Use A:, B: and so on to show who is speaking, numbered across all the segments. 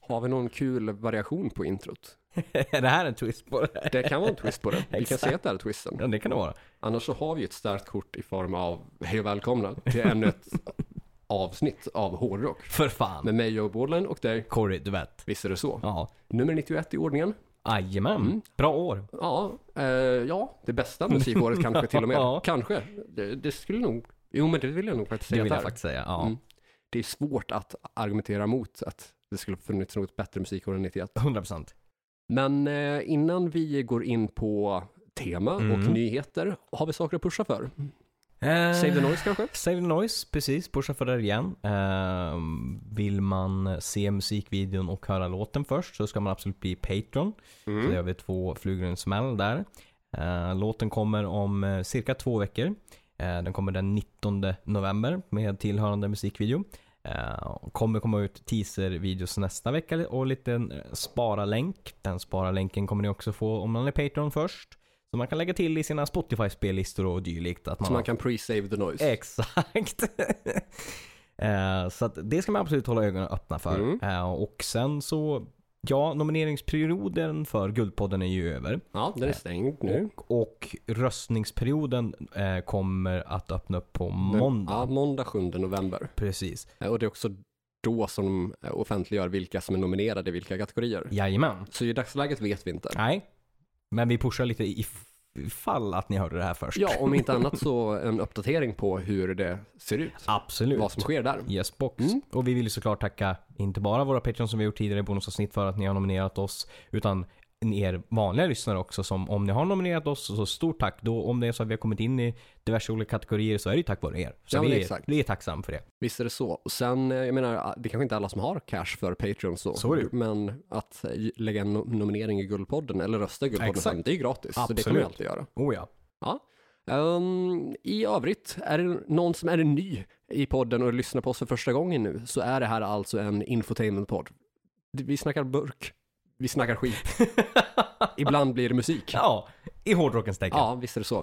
A: Har vi någon kul variation på introt?
B: är det här en twist på det?
A: Det kan vara en twist på det. Vi kan
B: Exakt.
A: se att det är twisten.
B: Ja, det kan det vara.
A: Annars så har vi ett starkt kort i form av Hej och välkomna till ännu ett avsnitt av Hårdrock.
B: För fan.
A: Med mig Joe Bordland och dig,
B: Corey, du vet.
A: visst är det så.
B: Ja.
A: Nummer 91 i ordningen.
B: Jajamän. Bra år.
A: Ja, eh, ja det bästa musikåret kanske till och med.
B: Ja.
A: Kanske. Det, det skulle nog, jo men det vill jag nog faktiskt
B: Det
A: säga
B: vill
A: att
B: jag
A: det är.
B: faktiskt säga. Ja.
A: Mm. Det är svårt att argumentera emot att det skulle ha funnits något bättre musikår än 91.
B: 100%.
A: Men eh, innan vi går in på tema och
B: Mm.
A: nyheter, har vi saker att pusha för?
B: Eh,
A: Save the noise kanske?
B: Save the Noise, precis. Pusha för det igen. Eh, vill man se musikvideon och höra låten först så ska man absolut bli Patreon.
A: Mm.
B: Så gör vi två flugor i en smäll där. Eh, låten kommer om eh, cirka två veckor. Eh, den kommer den 19 november med tillhörande musikvideo. Eh, och kommer komma ut teaservideos nästa vecka och liten eh, spara-länk. Den spara-länken kommer ni också få om man är Patreon först. Så man kan lägga till i sina Spotify-spellistor och dylikt. Att man
A: Så
B: har
A: man kan pre-save the noise.
B: Exakt. Eh, så att det ska man absolut hålla ögonen öppna för.
A: Mm.
B: Eh, och sen så, ja, nomineringsperioden för Guldpodden är ju över.
A: Ja, den är stängd nu.
B: Och, och röstningsperioden eh, kommer att öppna upp på
A: Den-
B: måndag.
A: Ja, måndag 7 november.
B: Precis.
A: Eh, Och det är också då som de eh, offentliggör vilka som är nominerade i vilka kategorier.
B: Jajamän.
A: Så i dagsläget vet vi inte.
B: Nej, men vi pushar lite if- ifall att ni hörde det här först.
A: Ja, om inte annat så en uppdatering på hur det ser ut.
B: Absolut.
A: Vad som sker där.
B: Yes box.
A: Mm.
B: Och vi vill ju såklart tacka inte bara våra Patreons som vi gjort tidigare i bonusavsnitt för att ni har nominerat oss, utan er vanliga lyssnare också som om ni har nominerat oss så stort tack. Då om det är så att vi har kommit in i diverse olika kategorier så är det ju tack vare er. Så
A: Ja, men
B: vi, är,
A: exakt.
B: vi är tacksamma för det.
A: Visst är det så. Och sen, eh, jag menar, det är kanske inte alla som har cash för Patreon så.
B: Så är det ju.
A: Men att eh, lägga en no- nominering i Guldpodden eller rösta i Guldpodden,
B: Exakt.
A: sen, det är ju gratis. Så det kommer
B: Absolut.
A: jag alltid göra.
B: Oh ja.
A: Ehm, I övrigt, är det någon som är ny i podden och lyssnar på oss för första gången nu så är det här alltså en infotainmentpodd. Vi snackar burk, vi snackar skit, ibland blir det musik.
B: ja, i hårdrockens tecken.
A: Ja, visst är det så.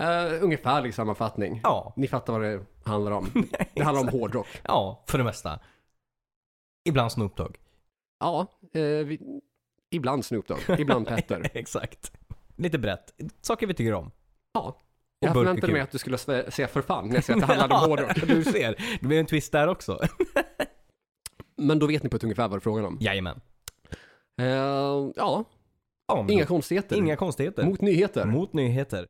A: Uh, ungefärlig sammanfattning.
B: ja.
A: Ni fattar vad det handlar om. Det handlar om hårdrock.
B: Ja, för det mesta. Ibland Snoop Dogg.
A: Ja, eh, vi, ibland Snoop Dogg, ibland Petter.
B: Exakt. Lite brett. Saker vi tycker om.
A: Ja.
B: Och
A: Jag
B: burk är
A: förväntade
B: kul.
A: mig att du skulle sve- säga för fan när jag säger att det handlade om hårdrock.
B: Du ser, det blir en twist där också.
A: Men då vet ni på ett ungefär vad det är frågan om.
B: Jajamän.
A: Eh, ja,
B: Ja, men-
A: inga konstigheter.
B: Mm. inga konstigheter. Mm.
A: Mot nyheter.
B: Mot nyheter.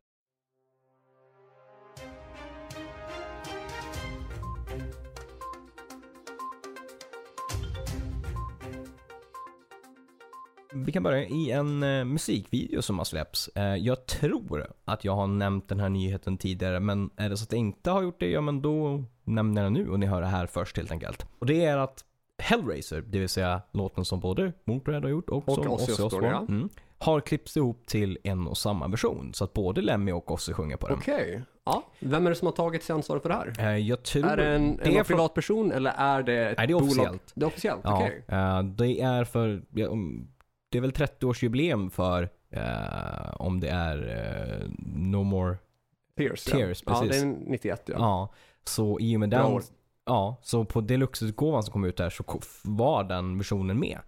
B: Vi kan börja i en eh, musikvideo som har släppts. Eh, jag tror att jag har nämnt den här nyheten tidigare, men är det så att jag inte har gjort det, ja men då nämner jag den nu och ni hör det här först helt enkelt. Och det är att Hellraiser, det vill säga låten som både Motörhead har gjort och,
A: Och
B: som
A: Ozzy
B: Ozzy Osbourne,
A: Osbourne, ja.
B: mm, har klippts ihop till en och samma version. Så att både Lemmy och Ozzy sjunger på den.
A: Okej. Ja, vem är det som har tagit sig ansvar för det här?
B: Eh, jag tror...
A: Är det en,
B: är
A: en
B: från-
A: privatperson eller är det ett
B: Nej, det är
A: bolag?
B: officiellt.
A: Det är officiellt,
B: Ja,
A: okej.
B: eh, det är för... ja, om- Det är väl 30-årsjubileum för eh, om det är eh, No More...
A: Tears,
B: Tears,
A: ja.
B: precis.
A: Ja, det är 91 ja.
B: Ja. Så i och med
A: Bra
B: den...
A: år.
B: Ja, så på deluxe-utgåvan som kom ut där så ko- f- var den versionen med.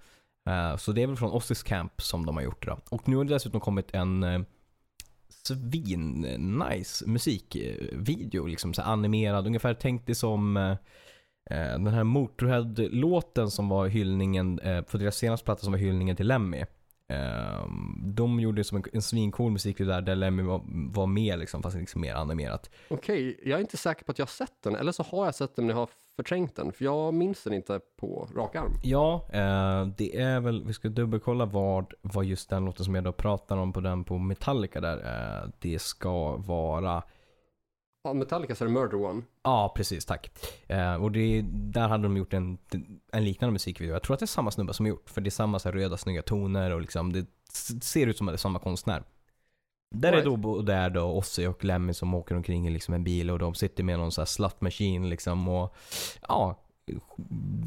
B: Eh, så det är väl från Ozzys Camp som de har gjort det då. Och nu har det dessutom kommit en uh, svin-nice musikvideo. Liksom så här animerad. Ungefär tänk dig som eh, eh, den här Motorhead-låten som var hyllningen, uh, på deras senaste platta som var hyllningen till Lemmy. Eh, de gjorde som en, en svincool musikvideo där, där Lemmy var, var med liksom, fast liksom mer animerat.
A: Okej, jag är inte säker på att jag har sett den, eller så har jag sett den men jag har förträngt den, för jag minns den inte på rak arm.
B: Ja, eh, det är väl, vi ska dubbelkolla vad, vad just den låten som jag då pratar om på den på Metallica där, eh, det ska vara
A: Ja, Metallica så är det Murder One.
B: Ja, precis. Tack. Eh, och det, där hade de gjort en, en liknande musikvideo. Jag tror att det är samma snubbe som gjort. För det är samma så här röda snygga toner och liksom, det s- ser ut som att det är samma konstnär. Där är
A: Alright.
B: då både där då Ozzy och Lemmy som åker omkring i liksom en bil och de sitter med någon så här slut machine liksom och ja.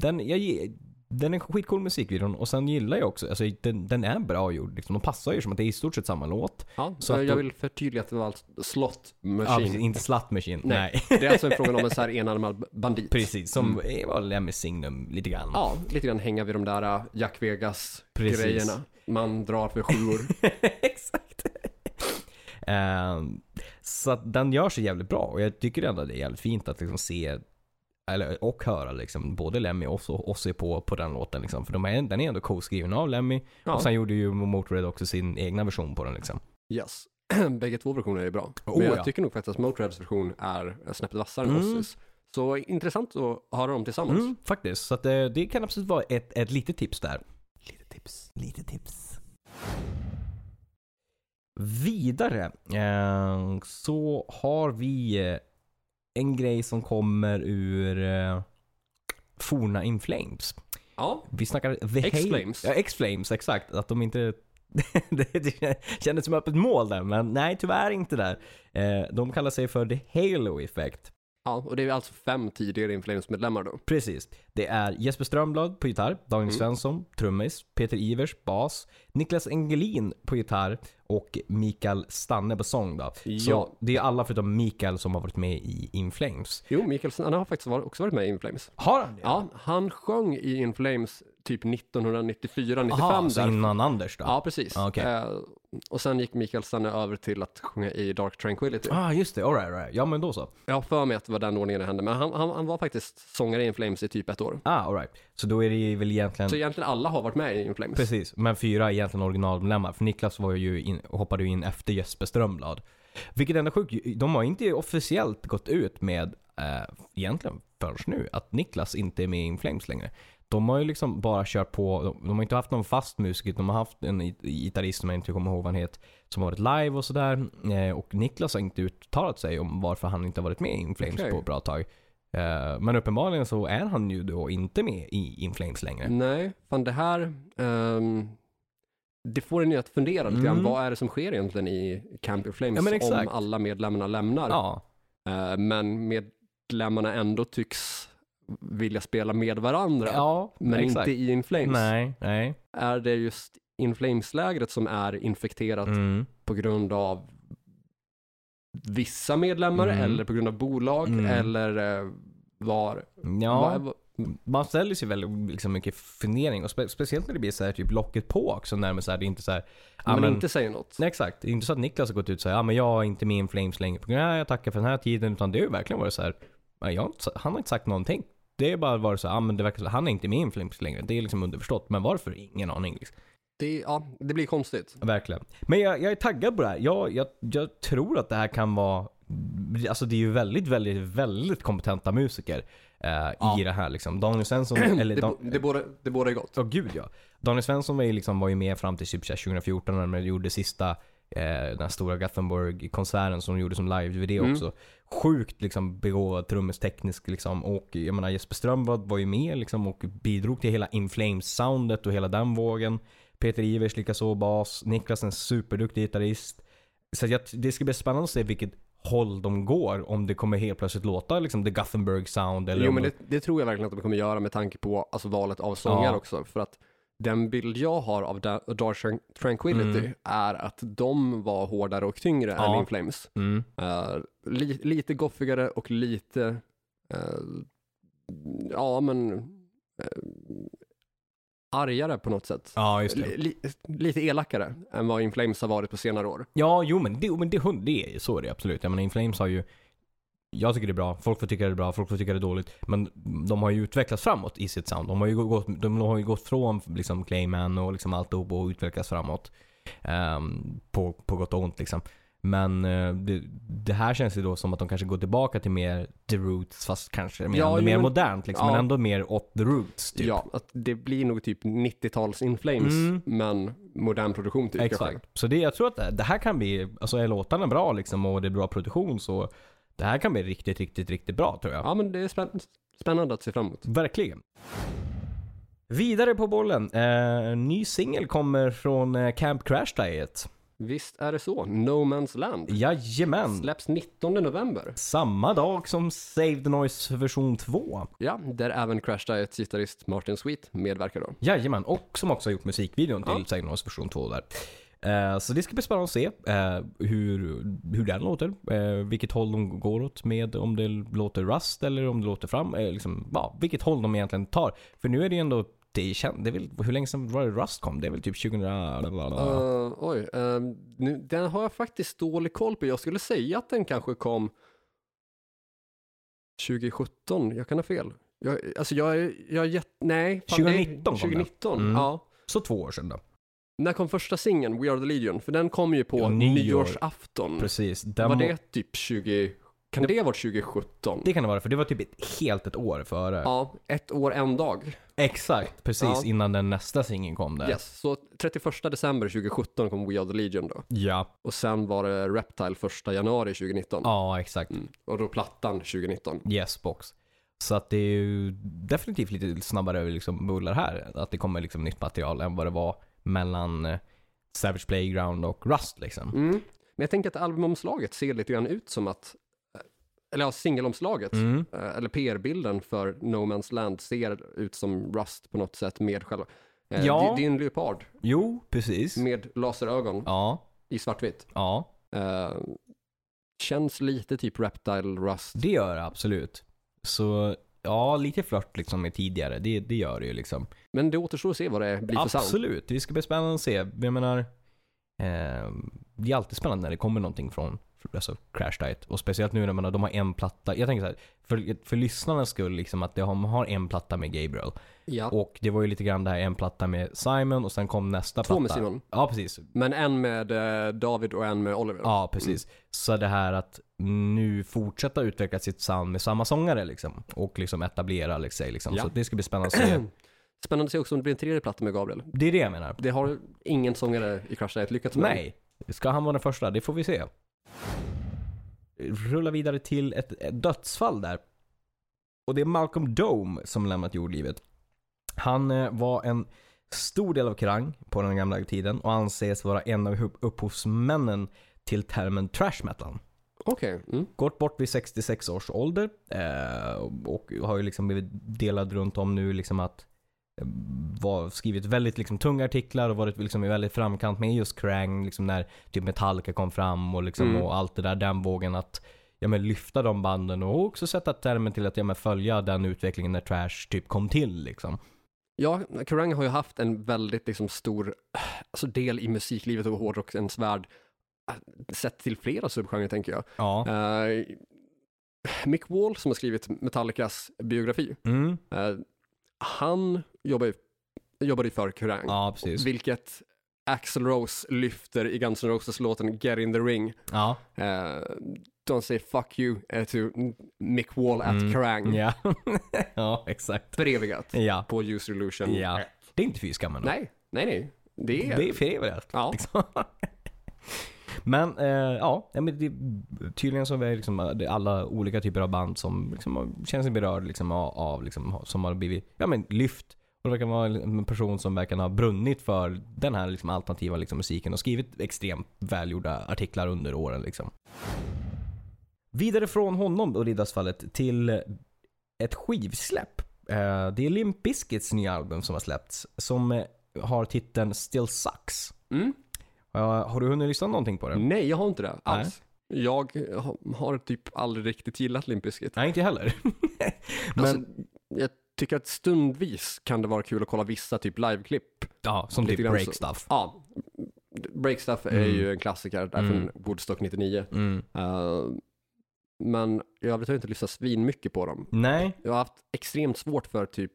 B: Den, jag, ge- Den är skitcool musikvideon och sen gillar jag också, alltså den, den är bra gjord. Liksom. De passar ju som att det är i stort sett samma låt.
A: Ja,
B: Så
A: så
B: att
A: jag
B: då-
A: vill förtydliga att det var alltså Slott
B: Ja,
A: Machine.
B: precis, inte Slut Machine.
A: Nej.
B: Nej.
A: det är alltså en fråga om en så här enarmad bandit.
B: Precis, som mm. var Lemmy Signum lite grann.
A: Ja, lite grann hänga vid de där äh, Jack Vegas-grejerna.
B: Precis.
A: Man drar för sjuor.
B: Exakt. Ehm, så att den gör sig jävligt bra och jag tycker ändå det är jävligt fint att liksom se eller, och höra liksom, både Lemmy och Oss- Ossi på, på den låten. Liksom. För de är, den är ändå co-skriven av Lemmy
A: Ja.
B: och sen gjorde ju Motörhead också sin egna version på den. Liksom.
A: Yes. Bägge två versioner är bra.
B: Oh,
A: Men jag
B: ja.
A: tycker nog faktiskt att Motörheads version är snäppet vassare än
B: Mm.
A: Ossis. Så intressant att ha dem tillsammans.
B: Mm, faktiskt, så att, eh, det kan absolut vara ett, ett litet tips där. Lite tips. Lite tips. Vidare eh, så har vi eh, en grej som kommer ur eh, forna In Flames.
A: Ja,
B: Vi snackar The Halo-
A: X-Flames.
B: Ja, X-Flames, exakt. Att de inte... det kändes som öppet mål där, men nej tyvärr inte där. Eh, de kallar sig för The Halo Effect.
A: ja, och det är alltså fem tidigare Inflames-medlemmar då.
B: Precis. Det är Jesper Strömblad på gitarr, Daniel
A: Mm.
B: Svensson, trummis, Peter Ivers, bas, Niklas Engelin på gitarr och Mikael Stanne på sång. Då.
A: Ja.
B: Så det är alla förutom Mikael som har varit med i In Flames.
A: Jo, Mikkelsen, han har faktiskt var- också varit med i Inflames.
B: Har han det?
A: Ja, han sjöng i Inflames typ 1994, 95
B: Aha, så
A: där.
B: innan Anders då?
A: Ja, precis.
B: Ah, okej.
A: Eh, och sen gick Mikael Stanne över till att sjunga i Dark Tranquility.
B: Ah, just det. All right, all right. Ja, men då så.
A: Jag har för mig att det var den ordningen det hände, men han, han, han var faktiskt sångare i Inflames i typ ett år.
B: Ah, all right. Så då är det ju väl egentligen...
A: Så egentligen alla har varit med i Inflames.
B: Precis, men fyra är egentligen originalmedlemmar. För Niklas var ju in, hoppade ju in efter Jesper Strömblad. Vilket ändå är sjukt. De har inte officiellt gått ut med, eh, egentligen förrän nu, att Niklas inte är med i In Flames längre. De har ju liksom bara kört på, de, de har inte haft någon fast musiker, de har haft en gi- gitarrist som jag inte kommer ihåg vad han heter, som har varit live och sådär. Eh, och Niklas har inte uttalat sig om varför han inte har varit med i In Flames
A: Okej.
B: på ett bra tag. Eh, men uppenbarligen så är han ju då inte med i In Flames längre.
A: Nej, fan det här, ehm, det får en ju att fundera lite grann.
B: Mm.
A: Vad är det som sker egentligen i Camp In Flames
B: Ja, men
A: om
B: exakt.
A: alla medlemmarna lämnar?
B: Ja,
A: Eh, men medlemmarna ändå tycks vilja spela med varandra,
B: ja
A: men
B: exakt.
A: inte i In Flames.
B: Nej, nej.
A: Är det just In Flames-lägret som är infekterat
B: Mm.
A: på grund av vissa medlemmar
B: Mm.
A: eller på grund av bolag
B: Mm.
A: eller eh, var?
B: Ja,
A: vad-
B: man ställer sig väldigt liksom, mycket fundering och spe- speciellt när det blir så här typ locket på också när man så här, det är inte så här, ja,
A: men,
B: men-
A: inte säger något.
B: Nej, exakt. Det är inte så att Niklas har gått ut och säger ja men jag är inte med i In Flames längre på grund av jag tackar för den här tiden. Utan det har ju verkligen varit så här, ja, jag har inte, sa- han har inte sagt någonting. Det är bara varit så här, ja men det verkar så, han är inte med i In Flames längre. Det är liksom underförstått. Men varför? Ingen aning. Liksom.
A: Det, ja, det blir konstigt.
B: Verkligen. Men jag, jag är taggad på det här. Jag, jag, jag tror att det här kan vara... Alltså det är ju väldigt, väldigt, väldigt kompetenta musiker eh, i det här liksom. Daniel Svensson, eller...
A: Det,
B: Dan,
A: det, borde, det borde gott.
B: Åh, gud ja. Daniel Svensson var ju, liksom, var ju med fram till typ så här 2014 när de gjorde sista eh, den här stora Gothenburg-konserten som de gjorde som live-video
A: Mm.
B: också. Sjukt liksom begåvad trummis teknisk liksom. Och jag menar Jesper Strömblad var ju med liksom och bidrog till hela In Flames-soundet och hela den vågen. Peter Ivers likaså bas. Niklas en superduktig gitarrist. Så att jag, det ska bli spännande att se vilket håll de går. Om det kommer helt plötsligt låta liksom the Gothenburg sound eller
A: Jo,
B: om
A: men
B: de-
A: det, det tror jag verkligen att de kommer göra med tanke på alltså, valet av sångare
B: Ja.
A: också. För att den bild jag har av Da- Dark Tran- Tranquility är att de var hårdare och tyngre
B: Mm. Ja.
A: än In Flames.
B: mm.
A: Eh, li, lite goffigare och lite, eh, ja men, eh, argare på något sätt.
B: Ja, just det.
A: Li, li, lite elakare än vad In Flames har varit på senare år.
B: Ja, jo men det, jo, men det, hund- det är så är det absolut. Jag menar, Inflames har ju... Jag tycker det är bra, folk får tycka det är bra, folk får tycka det är dåligt. Men de har ju utvecklats framåt i sitt sound. De har ju gått, de har ju gått från liksom Clayman och liksom alltihop och utvecklats framåt. Ehm, på, på gott och ont liksom. Men eh, det, det här känns ju då som att de kanske går tillbaka till mer the roots fast kanske mer,
A: Ja,
B: ändå
A: jo,
B: mer
A: men-
B: modernt liksom.
A: ja.
B: Men ändå mer åt the roots typ.
A: Ja, att det blir nog typ 90-tals In Flames,
B: Mm.
A: men modern produktion typ. kanske.
B: Exakt. Så det, jag tror att det, det här kan bli, alltså är låtarna bra liksom och det är bra produktion så det här kan bli riktigt, riktigt, riktigt bra tror jag.
A: Ja, men det är spänn- spännande att se fram emot.
B: Verkligen. Vidare på bollen. Eh, ny singel kommer från eh, Camp Crash Diet.
A: Visst är det så. No Man's Land.
B: Jajamän!
A: Släpps 19 november.
B: Samma dag som Save the Noise version 2.
A: Ja, där även Crash Diets gitarrist Martin Sweet medverkar då.
B: Jajamän, och som också har gjort musikvideon till Save the Noise version 2 där. Eh, Så det ska bli spännande att se eh, hur, hur den låter. eh, Vilket håll de går åt med. Om det låter rust eller om det låter fram. eh, Liksom, ja, vilket håll de egentligen tar. För nu är det ju ändå, det är, känt- det är väl, hur länge sedan var det rust kom? Det är väl typ 2000...
A: Eh, oj, eh, nu, den har jag faktiskt dålig koll på. Jag skulle säga att den kanske kom 2017. Jag kan ha fel. Jag, alltså jag är, jag är jätt, nej. fan, det är
B: 2019 kom den.
A: 2019,
B: Mm.
A: ja.
B: Så två år sedan då.
A: Mm. När kom första singeln, We Are The Legion? För den kom ju på
B: Ja, nyår.
A: nyårsafton.
B: Precis. Den
A: Var
B: må-
A: det typ 20, kan det ha varit 2017?
B: det kan det vara, för det var typ ett, helt ett år före.
A: Ja, ett år, en dag.
B: Exakt, precis
A: Ja.
B: innan den nästa singeln kom där.
A: Yes. Så 31 december 2017 kom We Are The Legion då.
B: Ja,
A: Och sen var det Reptile 1 januari 2019.
B: ja exakt.
A: Mm. Och då plattan 2019.
B: Yes box. Så att det är ju definitivt lite snabbare liksom bullar här. Att det kommer liksom nytt material än vad det var mellan eh, Savage Playground och Rust liksom.
A: Mm. Men jag tänker att albumomslaget ser lite grann ut som att, eh, eller ja, singelomslaget,
B: Mm.
A: eh, eller PR-bilden för No Man's Land ser ut som Rust på något sätt med själva. eh,
B: Ja.
A: det- Det är en leopard
B: Jo, precis.
A: med laserögon
B: Ja,
A: i svartvitt.
B: ja.
A: Eh, känns lite typ Reptile Rust.
B: Det gör det absolut. Så ja, lite flört liksom med tidigare. Det, det gör det ju liksom.
A: Men det återstår att se vad det blir för sound.
B: Absolut, det ska bli spännande att se. Jag menar, eh, det är alltid spännande när det kommer någonting från alltså Crash Diet. Och speciellt nu när man, har- de har en platta. Jag tänker så här, för, för lyssnarnas skull, liksom, att de har, man har en platta med Gabriel.
A: Ja.
B: Och det var ju lite grann det här en platta med Simon och sen kom nästa
A: Två
B: platta.
A: med Simon.
B: Ja, precis.
A: Men en med eh, David och en med Oliver.
B: Ja, precis. Så det här att nu fortsätta utveckla sitt sound med samma sångare liksom. Och liksom etablera sig liksom.
A: Ja.
B: Så det ska bli spännande att se.
A: Spännande att se också om det blir en tredje platta med Gabriel.
B: Det är det jag menar.
A: Det har ingen sångare i Crash Diet lyckats med.
B: Nej. Ska han vara den första? Det får vi se. Rulla vidare till ett, ett dödsfall där. Och det är Malcolm Dome som lämnat jordlivet. Han eh, var en stor del av Kerrang på den gamla tiden och anses vara en av hu- upphovsmännen till termen trash metal.
A: Okej. Mm.
B: Gått bort vid 66 års ålder eh, och har ju liksom blivit delad runt om nu liksom att eh, var, skrivit väldigt liksom tunga artiklar och varit liksom i väldigt framkant med just Krang, liksom när typ Metallica kom fram och, liksom,
A: Mm.
B: och allt det där, den vågen att ja, men lyfta de banden och också sätta termen till att ja, men följa den utvecklingen när Trash typ kom till liksom.
A: Ja, Kerrang har ju haft en väldigt liksom, stor eh, alltså, del i musiklivet och hårdrockens värld. eh, Sett till flera subgenrer tänker jag.
B: Ja.
A: Eh, Mick Wall som har skrivit Metallicas biografi,
B: Mm.
A: eh, han jobbar ju, jobbade ju för Kerrang.
B: Ja, precis.
A: Vilket Axl Rose lyfter i Guns N' Roses låten Get In The Ring.
B: Ja.
A: Eh, don't say fuck you eh, to Mick Wall at
B: Mm.
A: Kerrang.
B: Ja. ja, exakt.
A: Förevigat
B: Ja.
A: på User Illusion.
B: ja. Det är inte fy skammen.
A: Nej, nej, nej. Det är...
B: Mm. Det är febrigt.
A: Ja.
B: Liksom. Men eh, ja, ja, men det, tydligen så är det liksom eh, det är alla olika typer av band som liksom har- känner sig berörda liksom av, av liksom, ha- som har blivit ja, men lyft. Och det verkar vara en person som verkar ha brunnit för den här liksom, alternativa liksom, musiken och skrivit extremt välgjorda artiklar under åren. Liksom. Vidare från honom och Riddarsfallet till ett skivsläpp. Eh, Det är Limp Bizkits nya album som har släppts som eh, har titeln Still Sucks.
A: Mm.
B: Eh, Har du hunnit lyssna någonting på det?
A: Nej, jag har inte det alls. Jag har- har typ aldrig riktigt gillat Limp Bizkit.
B: Nej, inte jag heller. Men
A: Alltså, jag tycker att stundvis kan det vara kul att kolla vissa typ liveklipp.
B: ja, som
A: lite
B: typ
A: grann
B: break
A: så.
B: stuff.
A: Ja, Breakstuff är
B: Mm.
A: ju en klassiker där
B: Mm.
A: från Woodstock 99.
B: Mm.
A: Eh, men i övrigt har jag inte lyssnat svin mycket på dem.
B: Nej,
A: Jag har haft extremt svårt för typ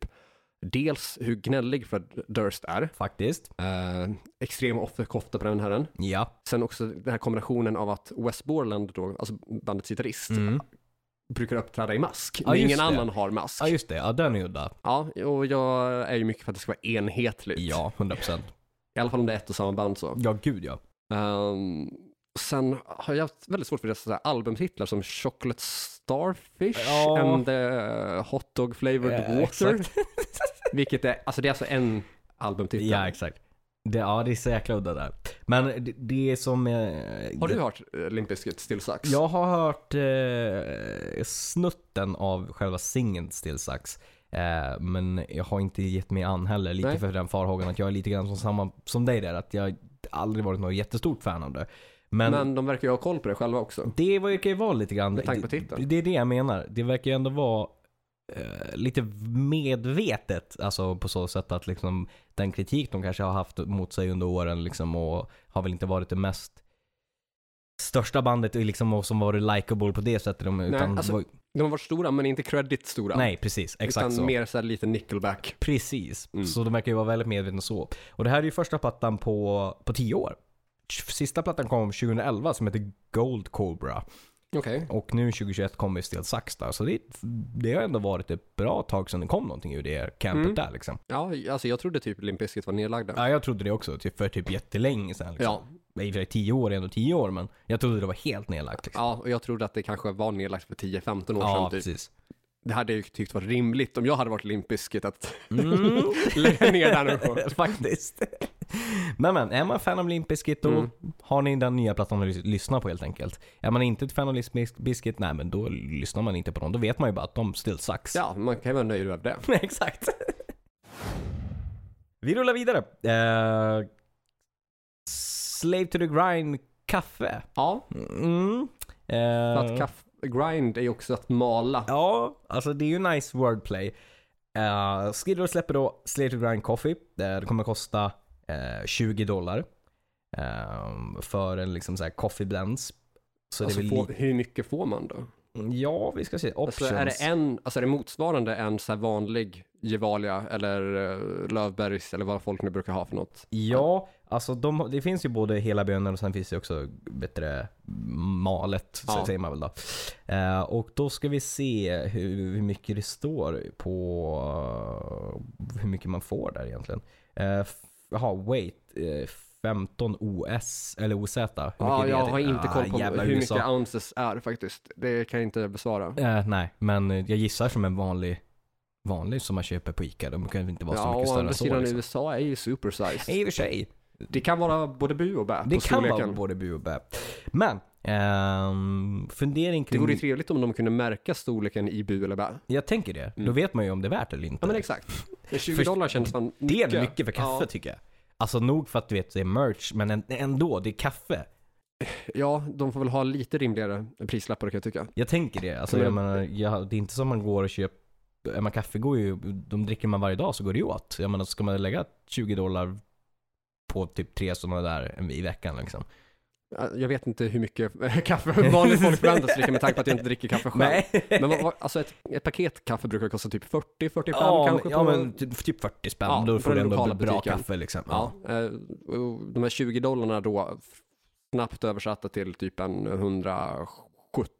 A: dels hur gnällig Fred Durst är,
B: faktiskt.
A: eh, extrem offerkofta på den herren.
B: Ja.
A: Sen också den här kombinationen av att Wes Borland då, alltså bandets gitarrist,
B: Mm.
A: brukar uppträda i mask.
B: Ja,
A: men
B: just
A: ingen
B: det.
A: annan har mask.
B: Ja, just det. Ja, den är udda.
A: Ja, och jag är ju mycket för att det ska vara enhetligt.
B: Ja, 100%.
A: I alla fall om det är ett och samma band så.
B: Ja, gud ja.
A: Ehm, sen har jag haft väldigt svårt för dessa så här albumtitlar som Chocolate Starfish
B: Ja.
A: and the Hot Dog Flavored
B: Eh,
A: Water.
B: exakt.
A: Vilket är, alltså det är alltså en albumtitel.
B: ja, exakt. Det, ja, det är så jäkla udda där. Men det, det är som... eh,
A: Har
B: det-
A: du hört eh, Limp Bizkit Still Sucks?
B: Jag har hört eh, snutten av själva singeln Still Sucks. Eh, men jag har inte gett mig an heller. Lite
A: Nej.
B: för den farhågan att jag är lite grann som, samma, som dig där. Att jag aldrig varit något jättestort fan av det. Men,
A: Men de verkar ju ha koll på det själva också.
B: det verkar ju vara lite grann.
A: Med tanke på titeln.
B: Det är det jag menar. Det verkar ju ändå vara eh, lite medvetet. Alltså på så sätt att liksom den kritik de kanske har haft mot sig under åren liksom och har väl inte varit det mest största bandet och liksom och som varit likable på det sättet. De, utan,
A: alltså,
B: var,
A: De har varit stora, men inte credit stora.
B: nej, precis. Exakt
A: utan
B: så.
A: mer så här lite nickelback.
B: Precis.
A: Mm.
B: Så de verkar ju vara väldigt medvetna så. Och det här är ju första plattan på, på tio år. Sista plattan kom 2011 som heter Gold Cobra.
A: Okej.
B: Och nu 2021 kommer Still Sucks där. Så det, det har ändå varit ett bra tag sedan det kom någonting ur det campet
A: Mm.
B: där liksom.
A: Ja, alltså jag trodde typ Limp Bizkit var nedlagda.
B: Ja, jag trodde det också typ, för typ jättelänge sedan. Liksom.
A: Ja,
B: Ja. I och för sig 10 år är ändå 10 år, men jag trodde det var helt nedlagt. Liksom.
A: ja, och jag trodde att det kanske var nedlagt för 10-15 år
B: Ja,
A: sedan. Typ.
B: precis.
A: Det hade jag ju tyckt var rimligt om jag hade varit Limp Bizkit att
B: Mm.
A: lägga ner den här på.
B: Faktiskt. Men men, är man fan av Limp Bizkit då
A: Mm.
B: har ni den nya plattan att lys- lyssna på helt enkelt. Är man inte ett fan av Limp Biz- Bizkit, nej men då lyssnar man inte på dem. Då vet man ju bara att de still sucks.
A: Ja, man kan ju vara nöjd över det.
B: Exakt. Vi rullar vidare. Eh, slave to the grind kaffe.
A: Ja,
B: Mm. Eh,
A: för att kaff, grind är ju också att mala.
B: Ja, alltså det är ju nice wordplay. Uh, Skid Row släpper då Slave to the grind coffee. Eh, det kommer kosta eh, 20 dollar. eh, för en liksom så här coffee blends. Så
A: alltså,
B: det är väl
A: få,
B: lite-
A: hur mycket får man då?
B: Ja, vi ska se. Options.
A: Alltså, är, det en, alltså, är det motsvarande en så här vanlig Gevalia eller uh, Lövbergs eller vad folk nu brukar ha för något?
B: Ja, alltså de, det finns ju både hela bönor och sen finns det också bättre malet, så
A: Ja.
B: säger man väl då. Eh, och då ska vi se hur, hur mycket det står på eh, hur mycket man får där egentligen. Eh, f- Jaha, wait. eh, 15 OS, eller OZ. Hur mycket
A: Ja,
B: det
A: jag
B: är?
A: har inte
B: Ah,
A: koll på
B: jävla
A: hur
B: USA.
A: mycket ounces är faktiskt. Det kan jag inte besvara.
B: Eh, nej, men jag gissar som en vanlig, vanlig som man köper på ICA. De kan väl inte vara så
A: Ja,
B: mycket
A: å
B: större än
A: andra
B: så.
A: sidan
B: Liksom.
A: USA är ju supersize.
B: I och för sig.
A: Det kan vara både bu och bä på
B: Det kan
A: storleken.
B: vara både bu och bä. Men, ehm, fundering
A: Det
B: kring...
A: vore ju trevligt om de kunde märka storleken i bu eller bä.
B: jag tänker det. Då vet man ju om det är värt eller inte.
A: Mm. Ja men exakt. 20
B: För-
A: dollar känns fan
B: det är mycket för kaffe
A: Ja.
B: tycker jag. Alltså nog för att du vet det är merch, men än- ändå, det är kaffe.
A: Ja, de får väl ha lite rimligare prislappar kan jag tycka.
B: Jag tänker det. Alltså,
A: Men-
B: jag menar, jag, det är inte som man går och köper... Är man kaffe går ju... De dricker man varje dag så går det ju åt. Jag menar, ska man lägga 20 dollar på typ tre sådana där i veckan liksom.
A: Ja, Jag vet inte hur mycket kaffe vanligt folk förväntas dricka med tanke på att jag inte dricker kaffe själv. Men vad, vad, alltså ett, ett paket kaffe brukar kosta typ 40-45
B: Ja, men-
A: kanske.
B: ja
A: på,
B: men typ typ 40 spänn.
A: Ja,
B: då
A: för
B: får du
A: den
B: ändå
A: lokala
B: bra
A: butiken.
B: kaffe liksom.
A: ja, eh, och de här 20 dollarna då, snabbt översatta till typ en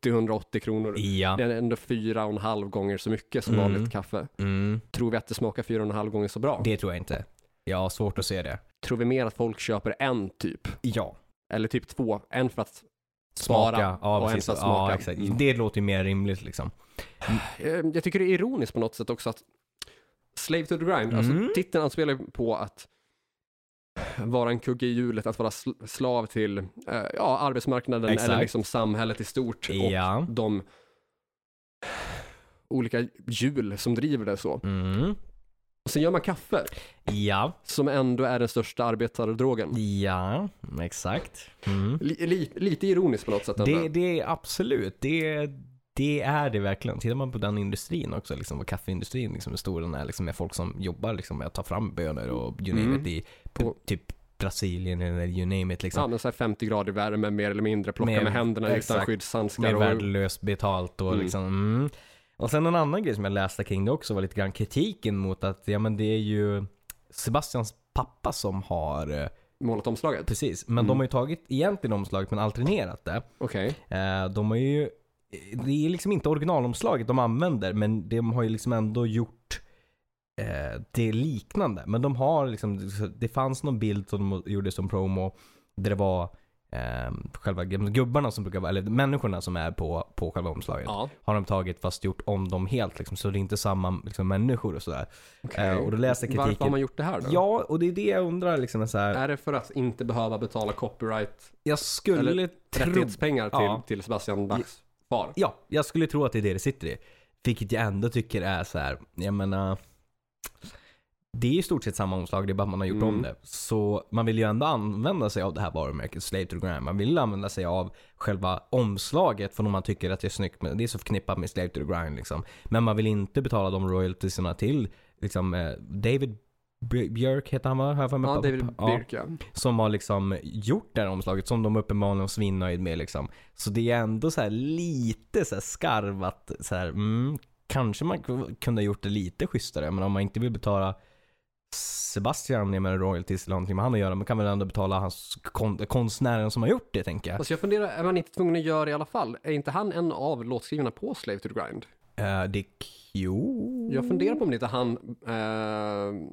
A: 170-180 kronor.
B: Ja.
A: Det är ändå fyra och en halv gånger så mycket som
B: Mm.
A: vanligt kaffe.
B: Mm.
A: Tror vi att det smakar fyra och en halv gånger så bra?
B: Det tror jag inte. Jag har svårt att se det.
A: Tror vi mer att folk köper en typ?
B: Ja.
A: Eller typ två? En för att
B: Smaka.
A: spara
B: Ja,
A: och en
B: precis.
A: för att smaka.
B: Ja, exakt.
A: Mm.
B: Det låter ju mer rimligt liksom.
A: Eh, Jag tycker det är ironiskt på något sätt också att Slave to the Grind,
B: Mm.
A: alltså titeln anspelar ju på att vara en kugge i hjulet, att vara sl- slav till eh, ja, arbetsmarknaden
B: Exakt.
A: eller liksom samhället i stort
B: Ja.
A: och de olika hjul som driver det så.
B: Mm.
A: Och sen gör man kaffe,
B: Ja.
A: som ändå är den största arbetardrogen.
B: Ja. Exakt. Mm.
A: Li- li- lite ironiskt på något sätt. ändå.
B: Det, det är absolut. Det, det är det verkligen. Tittar man på den industrin också, liksom, vad kaffeindustrin liksom, hur stor den är, liksom, med folk som jobbar liksom, med att ta fram bönor och you name
A: Mm.
B: it i på, typ Brasilien eller you name it. Liksom.
A: Ja, men så här 50 grader värme mer eller mindre, plocka
B: Med-
A: med, händerna
B: exakt.
A: utan skyddshandskar.
B: Med
A: Och,
B: värdelöst betalt och
A: Mm.
B: liksom mm. Och sen en annan grej som jag läste kring det också var lite grann kritiken mot att ja men det är ju Sebastians pappa som har eh,
A: målat omslaget?
B: Precis, men de
A: Mm.
B: har ju tagit egentligen omslaget men alternerat det.
A: Okej.
B: Eh, De har ju Det är liksom inte originalomslaget de använder men de har ju liksom ändå gjort eh, det liknande. Men de har liksom Det fanns någon bild som de gjorde som promo där det var eh, själva gubbarna som brukar vara, eller människorna som är på, på själva omslaget.
A: Ja.
B: Har de tagit fast gjort om dem helt liksom, så det är inte samma liksom, människor och sådär.
A: Okej.
B: Eh, och då läser
A: Varför har
B: kritiken.
A: man gjort det här då?
B: Ja, och det är det jag undrar liksom. Så här,
A: Är det för att inte behöva betala copyright
B: jag skulle
A: eller
B: tro...
A: rättighetspengar till,
B: Ja.
A: till Sebastian Bachs far?
B: Ja, jag skulle tro att det är det det sitter i. Vilket jag ändå tycker är så här, jag menar. Det är i stort sett samma omslag, det är bara att man har gjort om
A: Mm.
B: det. Så man vill ju ändå använda sig av det här varumärket, Slave to the Grind. Man vill använda sig av själva omslaget för om man tycker att det är snyggt. Men det är så förknippat med Slave to the Grind liksom. Men man vill inte betala de royaltiesna till liksom, eh, David Bj- Björk heter han va? Har jag för mig?
A: Ja,
B: Pa-
A: David
B: pa- ja
A: Birk ja.
B: som har liksom gjort det här omslaget som de uppenbarligen var svinnöjd med liksom. Så det är ändå så här lite så här skarvat så här, mm, kanske man k- kunde ha gjort det lite schysstare, men om man inte vill betala Sebastian, jag menar royalties eller någonting med han att göra, man kan väl ändå betala hans kon- konstnären som har gjort det tänker jag.
A: Alltså jag funderar, är man inte tvungen att göra det i alla fall? Är inte han en av låtskrivarna på Slave to the Grind?
B: Eh, det är Q...
A: Jag funderar på om det inte är han, eh,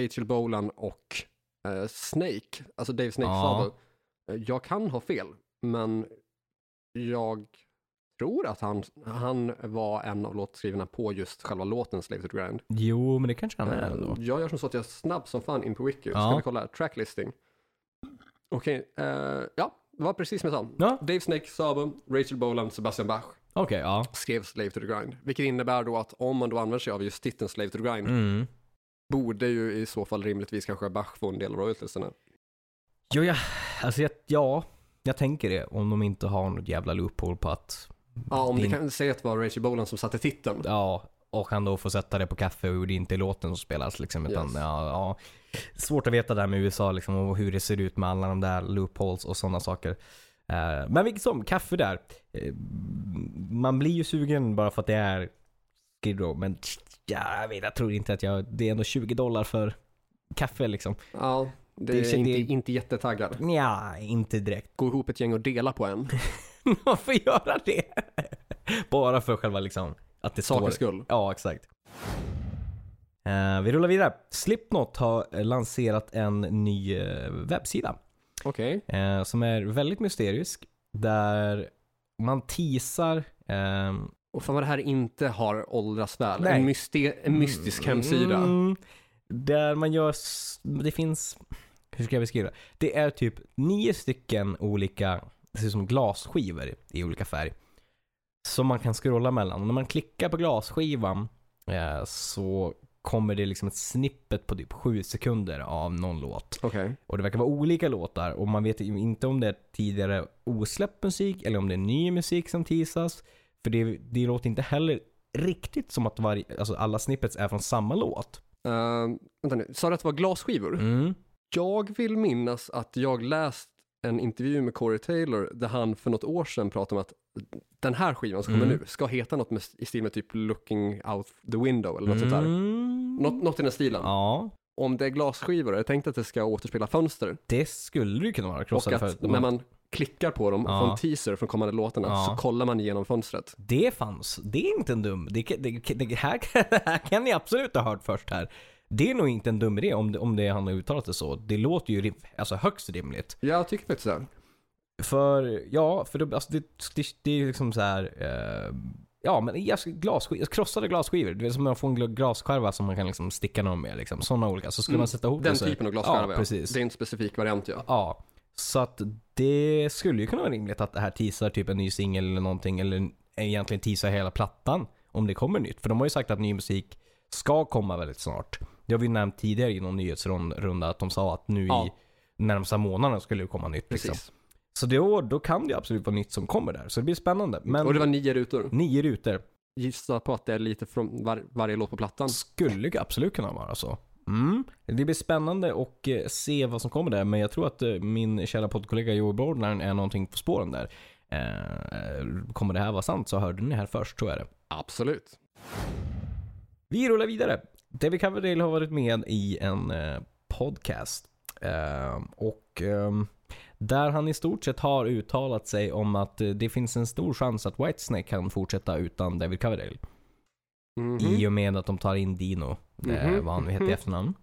A: Rachel Bolan och eh, Snake, alltså Dave Snake
B: Ja.
A: Sabo. Eh, Jag kan ha fel, men jag tror att han, han var en av låtskrivarna på just själva låten Slave to the Grind.
B: Jo, men det kanske han är
A: Eh,
B: ändå.
A: Jag gör som så att jag snabbt som fan in på Wiki, så
B: Ja.
A: ska vi kolla här, tracklisting. Okej, eh, ja, det var precis som jag sa.
B: Ja.
A: Dave Snake Sabo, Rachel Bolan, Sebastian Bach
B: Okej, ja.
A: skrev Slave to the Grind. Vilket innebär då att om man då använder sig av just titeln Slave to the Grind
B: Mm.
A: borde ju i så fall rimligtvis kanske Bach få en del av royaltiesarna.
B: Jo, ja, alltså jag, ja, jag tänker det. Om de inte har något jävla loophole på att
A: Ja, om
B: det
A: det
B: inte-
A: kan säga att det var Rachel Bolan som satte titeln.
B: Ja, och han då får sätta det på kaffe och det är inte låten som spelas liksom. Utan,
A: Yes.
B: ja, ja. Svårt att veta där med USA liksom och hur det ser ut med alla de där loopholes och sådana saker. Eh, men vilket som, kaffe där. Eh, man blir ju sugen bara för att det är Skid Row. Men ja, jag, vet, jag tror inte att jag, det är ändå 20 dollar för kaffe liksom.
A: Ja, det,
B: Det
A: är
B: känns-
A: inte,
B: det-
A: inte jättetaggad.
B: Nja, inte direkt.
A: Gå ihop ett gäng och dela på en,
B: Man får göra det. Bara för själva liksom att det står
A: sakens skull.
B: Ja, exakt. Eh, vi rullar vidare. Slipknot har eh, lanserat en ny eh, webbsida
A: Okej.
B: eh, som är väldigt mysterisk. Där man teasar ehm,
A: Och fan vad det här inte har åldrats väl.
B: Nej.
A: En, myste- en mystisk hemsida.
B: Mm, där man gör, s- det finns, hur ska jag beskriva det? Det är typ nio stycken olika, det ser ut som glasskivor i olika färg. Som man kan scrolla mellan. Och när man klickar på glasskivan eh, så kommer det liksom ett snippet på typ sju sekunder av någon låt.
A: Okej.
B: Och det verkar vara olika låtar och man vet ju inte om det är tidigare osläppt musik eller om det är ny musik som teasas. För det, det låter inte heller riktigt som att varje, alltså alla snippets är från samma låt.
A: Ehm, vänta nu, sa du att det var glasskivor?
B: Mm.
A: Jag vill minnas att jag läst en intervju med Corey Taylor där han för något år sedan pratade om att den här skivan som kommer
B: Mm.
A: nu ska heta något med, i stil med typ Looking Out the Window eller något sånt där.
B: Mm.
A: Något, något i den stilen.
B: Ja,
A: Om det är glasskivor, jag tänkte att det ska återspela fönster.
B: det skulle det ju kunna vara.
A: Och
B: krossade
A: att
B: för-
A: när man klickar på dem
B: Ja.
A: från teaser från kommande låtarna
B: Ja.
A: så kollar man igenom fönstret.
B: Det fanns. Det är inte en dum. Det, det, det, här, det här kan ni absolut ha hört först här. Det är nog inte en dum idé om det, om det han har uttalat det så. Det låter ju rim, alltså högst rimligt.
A: Jag tycker faktiskt det.
B: För, ja, för det, alltså det, det, det är ju liksom så här. Eh, ja, men jag, glas, jag krossade glasskivor. Det är som att få en gla- glasskärva som man kan liksom sticka någon med. Liksom. Sådana olika. Så skulle
A: Mm.
B: man sätta ihop
A: Den
B: det så-
A: typen av glasskärva.
B: Ja,
A: ja.
B: precis.
A: Det är en specifik variant ja.
B: Ja. Så att det skulle ju kunna vara rimligt att det här teasar typ en ny singel eller någonting. Eller egentligen teasar hela plattan. Om det kommer nytt. För de har ju sagt att ny musik ska komma väldigt snart. Det har vi ju nämnt tidigare i någon nyhetsrunda. Att de sa att nu
A: Ja.
B: i närmsta månaderna skulle det komma nytt. Liksom.
A: Precis.
B: Så då, då kan det ju absolut vara nytt som kommer där. Så det blir spännande. Men
A: Och det var nio rutor.
B: nio rutor
A: Gissa på att det är lite från var- varje låt på plattan.
B: skulle ju absolut kunna vara så. Mm. Det blir spännande och eh, se vad som kommer där. Men jag tror att eh, min kära poddkollega Joel Bordlern är någonting på spåren där. Eh, kommer det här vara sant så hörde ni här först, så är det.
A: Absolut.
B: Vi rullar vidare. David Coverdale har varit med i en eh, podcast. Ehm, och ehm, där han i stort sett har uttalat sig om att eh, det finns en stor chans att Whitesnake kan fortsätta utan David Coverdale.
A: Mhm.
B: I och med att de tar in Dino, eh,
A: Mhm.
B: vad han nu heter i
A: Mhm.
B: efternamn.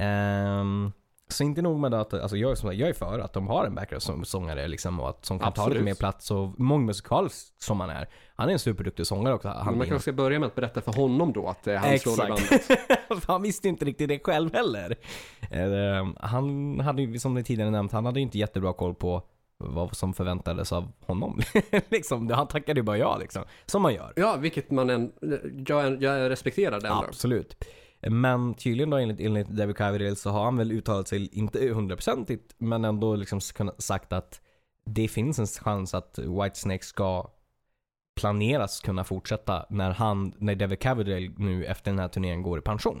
B: Ehm, Så inte nog med det att, alltså jag, är som, sagt- jag är för att de har en backup-sångare liksom, och att, som kan ta lite
A: Absolut.
B: mer plats och mångmusikalisk som han är. Han är en superduktig sångare också.
A: Men
B: Han,
A: man kanske ska börja med att berätta för honom då att det är hans roll i bandet.
B: Exakt. han visste inte riktigt det själv heller. Eh, Han hade ju, som ni tidigare nämnt, han hade ju inte jättebra koll på vad som förväntades av honom. liksom, han tackade ju bara ja liksom. Som man gör.
A: Ja, vilket man än, eh, jag, är- jag respekterar det ändå.
B: Absolut. Men tydligen då enligt, enligt David Coverdale så har han väl uttalat sig, inte hundraprocentigt, men ändå liksom s- kunnat- sagt att det finns en chans att Whitesnake ska planeras kunna fortsätta när han, när David Coverdale nu efter den här turnén går i pension.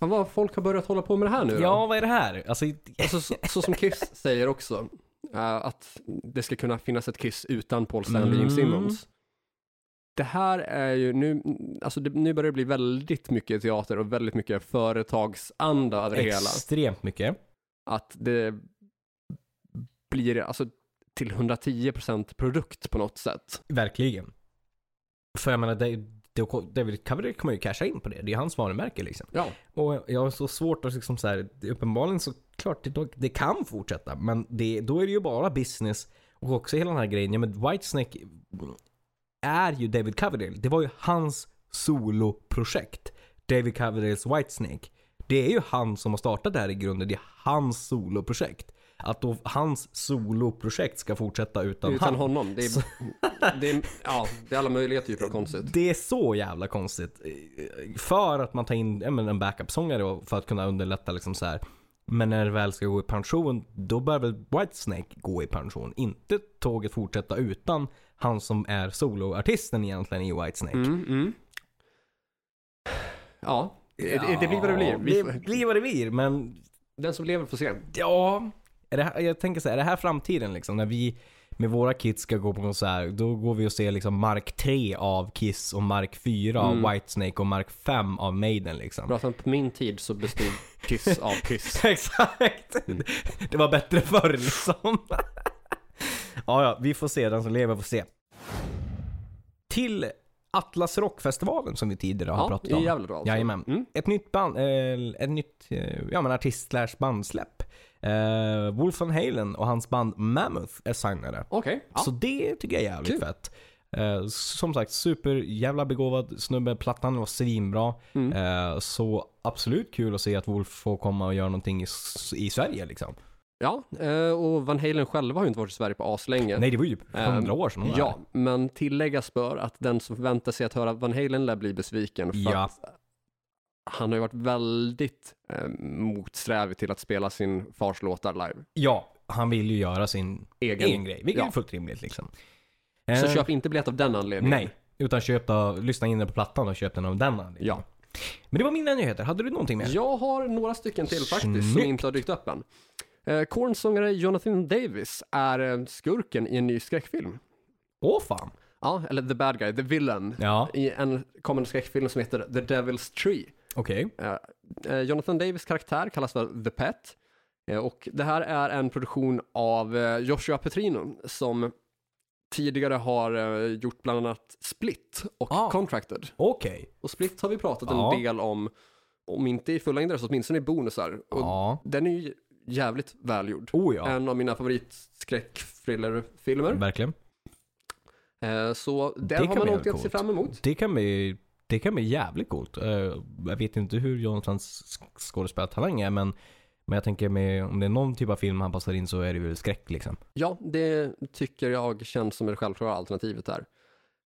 A: Fan vad folk har börjat hålla på med det här nu då.
B: Ja, vad är det här? Alltså,
A: Alltså, så, så som Kiss säger också, eh, att det ska kunna finnas ett Kiss utan Paul Stanley och Gene
B: Mm.
A: Simmons. Det här är ju nu, alltså det, nu börjar det bli väldigt mycket teater och väldigt mycket företagsanda över det hela.
B: extremt mycket.
A: Att det blir alltså till 110% produkt på något sätt.
B: Verkligen. För jag menar, det- det- David Coverdale kommer ju casha in på det. Det är hans varumärke liksom.
A: Ja,
B: Och jag har så svårt att liksom så här, uppenbarligen så klart det, det kan fortsätta, men det, då är det ju bara business och också hela den här grejen. Ja men Whitesnake är ju David Coverdale. Det var ju hans soloprojekt. David Coverdales Whitesnake. Det är ju han som har startat det här i grunden. Det är hans soloprojekt. Att då hans soloprojekt ska fortsätta utan,
A: utan
B: han.
A: honom. Det är, det är, ja, det är alla möjliga typer av konstigt.
B: Det är så jävla konstigt. Eh, För att man tar in ja, men en backup-sångare och för att kunna underlätta liksom så här. Men när det väl ska gå i pension, då bör väl Whitesnake gå i pension. Inte tåget fortsätta utan han som är soloartisten egentligen i Whitesnake.
A: Mm, mm. Ja, det, det- det blir vad det blir. Vi,
B: Det blir vad det blir, men
A: Den som lever får se.
B: Ja, är det här, jag tänker så här, är det här framtiden liksom? När vi med våra kids ska gå på konsert, då går vi och ser liksom Mark 3 av Kiss och Mark 4
A: Mm.
B: av Whitesnake och Mark 5 av Maiden liksom.
A: Pratar på min tid så bestod Kiss av Kiss.
B: Exakt! Det var bättre förr liksom. ja, ja, vi får se. Den som lever får se. Till Atlas Rockfestivalen som vi tidigare har
A: Ja,
B: pratat
A: i
B: om.
A: Gävle då alltså.
B: Jajamän.
A: Mm.
B: Ett nytt band, eh, ett nytt eh, ja, men artist slash bandsläpp. Eh, Wolf van Halen och hans band Mammoth är signade.
A: Okej. Ja.
B: Så det tycker jag är jävligt
A: Kul.
B: fett. Eh, som sagt, super jävla begåvad snubbe. Plattan var svinbra.
A: Mm.
B: Eh, så absolut kul att se att Wolf får komma och göra någonting i, s- i Sverige liksom.
A: ja, eh, och Van Halen själva har ju inte varit i Sverige på aslänge.
B: Nej, det var ju typ hundra år sedan de var där.
A: Eh, Ja, men tilläggas bör att den som förväntar sig att höra Van Halen lär bli besviken. För
B: Ja.
A: att han har ju varit väldigt eh, motsträvig till att spela sin fars låtar live.
B: ja, han vill ju göra sin
A: Egen.
B: egen, grej, vilket
A: Ja.
B: är fullt rimligt liksom.
A: Så
B: Eh,
A: köp inte biljett av den anledningen.
B: Nej, utan köp då, lyssna in på plattan och köp den av den anledningen.
A: Ja.
B: Men det var mina nyheter. Hade du någonting mer?
A: Jag har några stycken till faktiskt som
B: Snyggt.
A: inte har dykt upp än. Eh, Korn-sångare Jonathan Davis är eh, skurken i en ny skräckfilm.
B: Åh fan.
A: Ja, eller the bad guy, the villain.
B: Ja,
A: I en kommande skräckfilm som heter The Devil's Tree.
B: okej.
A: Eh, eh, Jonathan Davis karaktär kallas för The Pet. Eh, Och det här är en produktion av eh, Joshua Petrino som tidigare har eh, gjort bland annat Split och
B: Ah.
A: Contracted.
B: Okej.
A: Och Split har vi pratat
B: Ja.
A: en del om, om inte i fullängdare så åtminstone i bonusar. Och
B: Ja.
A: Den är ju jävligt välgjord.
B: Oh ja.
A: En av mina favoritskräckfrillerfilmer.
B: Verkligen.
A: Eh, så den
B: Det
A: har
B: kan
A: man
B: bli
A: något att se
B: coolt.
A: fram emot.
B: Det kan bli, det kan bli jävligt coolt. Eh, jag vet inte hur Jonathans sk- skådespelartalang är, men, men jag tänker med, om det är någon typ av film han passar in så är det väl skräck liksom.
A: Ja, det tycker jag känns som det självklara alternativet här.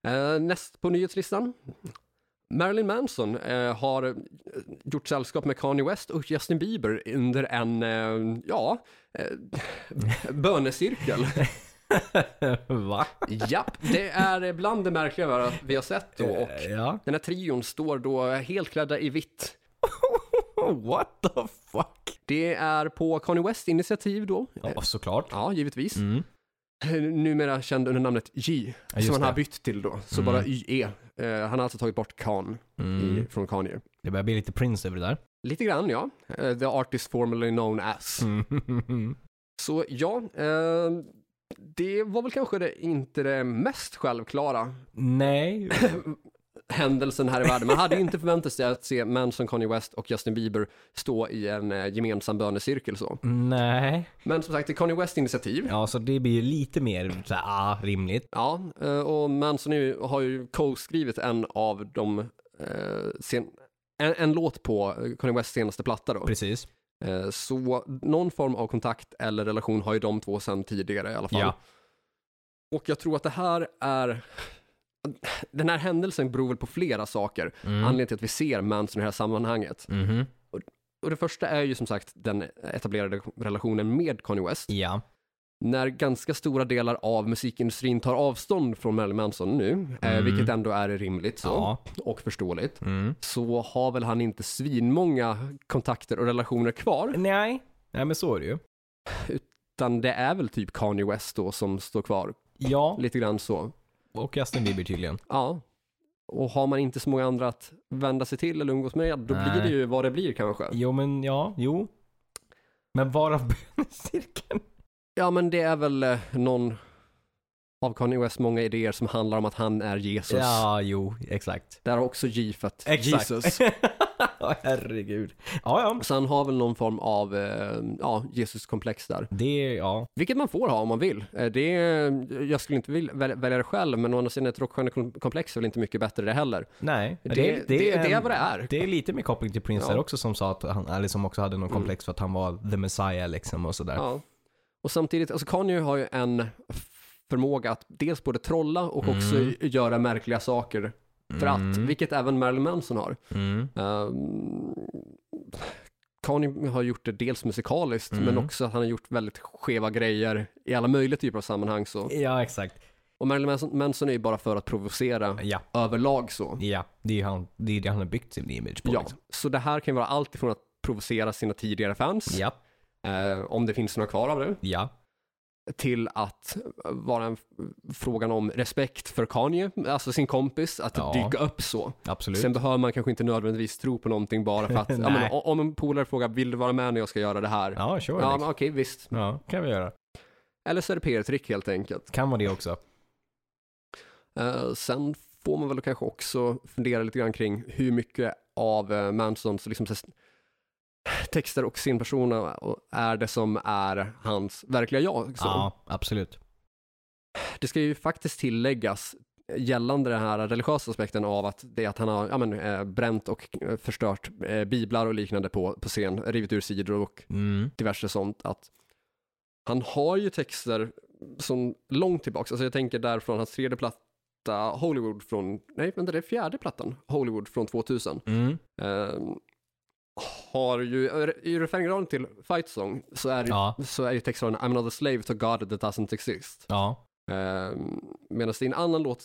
A: Eh, näst på nyhetslistan. Marilyn Manson eh, har gjort sällskap med Kanye West och Justin Bieber under en, eh, ja, eh, bönecirkel.
B: Va?
A: Japp, det är bland det märkliga vi har sett då och
B: Eh, Ja.
A: den här trion står då helt klädda i vitt.
B: What the fuck?
A: Det är på Kanye West initiativ då,
B: Ja, såklart.
A: ja givetvis.
B: Mm.
A: Numera känd under namnet J,
B: Ja, just
A: som han har
B: det.
A: bytt till då, så bara YE. Eh, Han har alltså tagit bort Kan i,
B: Mm.
A: från Kanye.
B: Det börjar bli lite Prince över det där.
A: Lite grann ja, Eh, the artist formerly known as.
B: Mm.
A: Så ja, eh, det var väl kanske det, inte det mest självklara.
B: Nej,
A: händelsen här i världen. Man hade ju inte förväntat sig att se Manson, Kanye West och Justin Bieber stå i en eh, gemensam bönecirkel så.
B: Nej.
A: Men som sagt, det är Kanye West initiativ.
B: Ja, så det blir ju lite mer så här, ah, rimligt.
A: Ja, eh, och Manson är ju, har ju co-skrivit en av de, eh, sen, en, en låt på eh, Kanye Wests senaste platta då.
B: Precis.
A: Eh, Så någon form av kontakt eller relation har ju de två sedan tidigare i alla fall.
B: Ja.
A: Och jag tror att det här är, den här händelsen beror väl på flera saker.
B: Mm.
A: Anledningen till att vi ser Manson i det här sammanhanget.
B: Mhm.
A: Och det första är ju som sagt den etablerade relationen med Kanye West.
B: Ja.
A: När ganska stora delar av musikindustrin tar avstånd från Marilyn Manson nu, eh,
B: Mm.
A: vilket ändå är rimligt så,
B: Ja.
A: och förståeligt,
B: Mm.
A: så har väl han inte svinmånga kontakter och relationer kvar.
B: Nej. Nej, men så är det ju.
A: Utan det är väl typ Kanye West då som står kvar.
B: Ja,
A: Lite grann så.
B: och Justin Bieber tydligen.
A: Ja. Och har man inte så många andra att vända sig till eller umgås med, då blir
B: Nej.
A: det ju vad det blir kanske.
B: Jo, men ja, jo. Men varav bönecirkeln?
A: Ja, men det är väl eh, någon av Kanye West många idéer som handlar om att han är Jesus.
B: Ja, jo, exakt.
A: Där har också gifat
B: Exakt.
A: Jesus.
B: Ja, Herregud. Ja, ja.
A: Så han har väl någon form av eh, ja, Jesuskomplex där.
B: Det, ja.
A: Vilket man får ha om man vill. Eh, Det är, jag skulle inte vilja välja, välja det själv, men å andra sidan ett rockstjärnekomplex är väl inte mycket bättre det heller.
B: Nej.
A: Det, det, det, är vad det är.
B: Det är lite med koppling till Prince
A: Ja. Mm.
B: där också som sa att han eller som också hade någon komplex för att han var the Messiah liksom och sådär.
A: Ja. Och samtidigt, alltså Kanye har ju en förmåga att dels både trolla och också
B: Mm.
A: göra märkliga saker för att,
B: Mm.
A: vilket även Marilyn Manson har.
B: Mm.
A: Ehm, Kanye har gjort det dels musikaliskt,
B: Mm.
A: men också att han har gjort väldigt skeva grejer i alla möjliga typer av sammanhang. Så.
B: Ja, exakt.
A: Och Marilyn Manson, Manson är ju bara för att provocera
B: Ja,
A: överlag så.
B: ja. Det är ju han, det, är det han har byggt sin image på.
A: Ja,
B: Liksom.
A: så det här kan ju vara allt ifrån att provocera sina tidigare fans,
B: ja,
A: eh, om det finns några kvar av det,
B: ja.
A: till att vara en frågan om respekt för Kanye, alltså sin kompis, att
B: Ja.
A: dyka upp så.
B: Absolut.
A: Sen behöver man kanske inte nödvändigtvis tro på någonting bara för att, ja,
B: Nej.
A: men, o- om en polare frågar vill du vara med när jag ska göra det här?
B: ja, sure.
A: Ja,
B: liksom.
A: men okej, visst.
B: ja, kan vi göra.
A: Eller så är det PR-trick helt enkelt.
B: Kan vara det också.
A: Eh, sen får man väl kanske också fundera lite grann kring hur mycket av eh, Mansons liksom, så här, texter och sin persona är det som är hans verkliga jag. liksom. Så.
B: Ja, absolut.
A: Det ska ju faktiskt tilläggas eh, gällande den här religiösa aspekten av att det är att han har ja, men, eh, bränt och eh, förstört eh, biblar och liknande på, på scen, rivit ur sidor och
B: Mm.
A: diverse sånt att han har ju texter som långt tillbaks, alltså jag tänker därifrån hans tredje platta Hollywood från, nej vänta det är fjärde plattan Hollywood från 2000.
B: Mm.
A: Ehm, har ju, i refrängraden till Fight Song så är,
B: Ja.
A: så är ju textraden I'm not a slave to God that doesn't exist.
B: Ja.
A: Um, Medan det i en annan låt,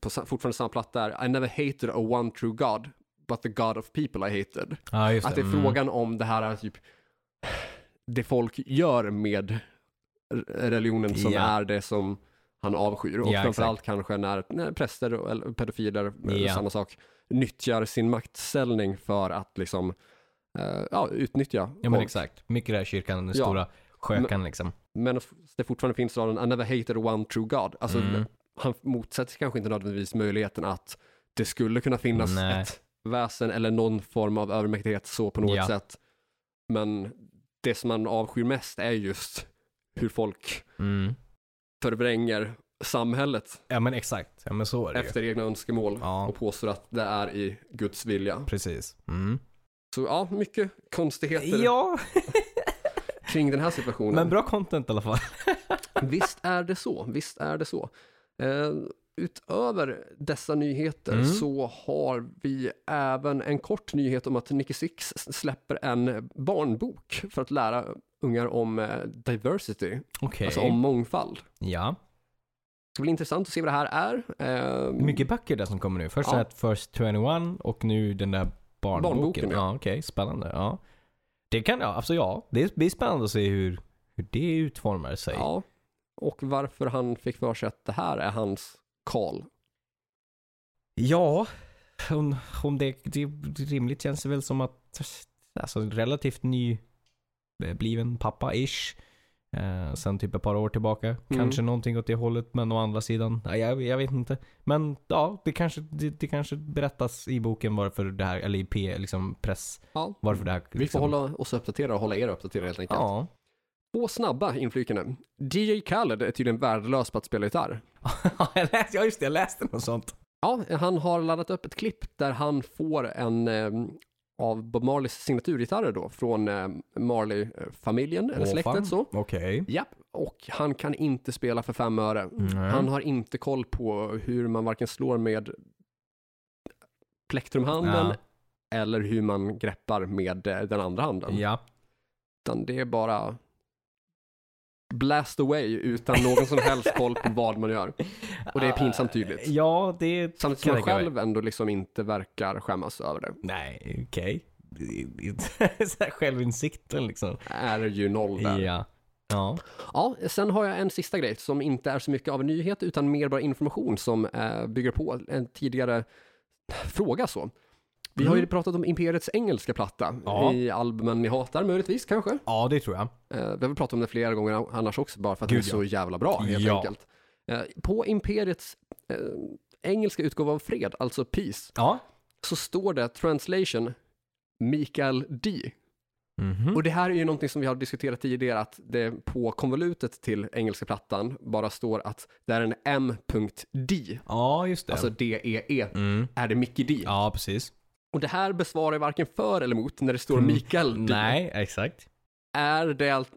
A: på, sa- fortfarande samma platta är I never hated a one true God but the God of people I hated.
B: Ja, just
A: Att det är
B: Mm.
A: frågan om det här typ det folk gör med r- religionen som
B: Ja.
A: är det som han avskyr. Och
B: Ja, exakt.
A: framförallt kanske när, när präster och eller pedofiler, eller
B: Ja.
A: samma sak, nyttjar sin maktställning för att liksom eh, ja, utnyttja
B: Ja, men
A: folk.
B: exakt. Mycket i den här kyrkan, den
A: Ja.
B: stora sjökan liksom.
A: Men att det fortfarande finns raden I never hated one true God. Alltså,
B: Mm.
A: Han motsätter sig kanske inte nödvändigtvis möjligheten att det skulle kunna finnas
B: Nej.
A: ett väsen eller någon form av övermäktighet så på något
B: Ja.
A: sätt. Men det som man avskyr mest är just hur folk
B: Mm.
A: förvränger samhället
B: Ja, men exakt. Ja, men så är det ju.
A: efter egna önskemål
B: Ja,
A: och påstår att det är i Guds vilja.
B: precis. Mm.
A: Så ja, mycket konstigheter
B: Ja,
A: kring den här situationen.
B: men bra content i alla fall.
A: Visst är det så, visst är det så. Eh, utöver dessa nyheter
B: Mm.
A: så har vi även en kort nyhet om att Nicky Six släpper en barnbok för att lära ungar om eh, diversity,
B: Okej.
A: alltså om mångfald.
B: Ja.
A: Det ska bli intressant att se vad det här är. Eh,
B: Mycket böcker där som kommer nu. Först
A: Ja.
B: ja. First 21 och nu den där barnboken.
A: Barnboken, ja.
B: ja. okej. Spännande. Ja. Det kan, ja, alltså ja. Det blir spännande att se hur, hur det utformar sig.
A: Ja, och varför han fick för sig att det här är hans call.
B: Ja, om, om det, det rimligt känns det väl som att alltså, relativt ny eh, bliven pappa-ish. Eh, sen typ ett par år tillbaka.
A: Mm.
B: Kanske någonting åt det hållet, men å andra sidan, ja, jag, jag vet inte. Men ja, det kanske, det, det kanske berättas i boken varför det här, eller i P, liksom press,
A: Ja.
B: varför det här. Liksom,
A: Vi får hålla oss uppdaterade och hålla er uppdaterade helt enkelt.
B: Ja.
A: Två snabba inflykande. DJ Khaled är tydligen värdelös på att spela gitarr.
B: jag läste, ja, just det, jag läste något sånt.
A: Ja, han har laddat upp ett klipp där han får en eh, av Bob Marleys signaturgitarrer då från eh, Marley-familjen eller
B: Åh, fan.
A: släktet så.
B: Okej.
A: Ja, och han kan inte spela för fem öre.
B: Nej.
A: Han har inte koll på hur man varken slår med plektrumhanden
B: Ja.
A: eller hur man greppar med eh, den andra handen.
B: Ja.
A: Utan det är bara blast away utan någon som helst koll på vad man gör. Och det är pinsamt tydligt.
B: Ja, det
A: Samtidigt som
B: kan
A: man
B: jag tänka mig.
A: själv ändå liksom inte verkar skämmas över det.
B: Nej, okej. Okay. Självinsikten liksom.
A: Är ju noll där.
B: Ja. Ja.
A: Ja, sen har jag en sista grej som inte är så mycket av en nyhet utan mer bara information som eh, bygger på en tidigare fråga så. Vi har ju
B: Mm.
A: pratat om Imperiets engelska platta
B: Ja.
A: i albumen ni hatar möjligtvis kanske. Eh,
B: ja, det tror jag.
A: vi har väl pratat om den flera gånger annars också bara för att
B: Gud,
A: den är så jävla bra helt
B: Ja.
A: enkelt. Eh, på Imperiets eh, engelska utgåva av Fred, alltså Peace,
B: Ja.
A: så står det translation Mikael D.
B: Mhm.
A: Och det här är ju någonting som vi har diskuterat tidigare, att det på konvolutet till engelska plattan bara står att det är en M.D,
B: Ja, just det.
A: alltså D-E-E,
B: mm.
A: är det Mickey D.
B: Ja, precis.
A: Och det här besvarar jag varken för eller emot när det står
B: Mm.
A: Mikael D.
B: Nej, exakt.
A: Är det, allt-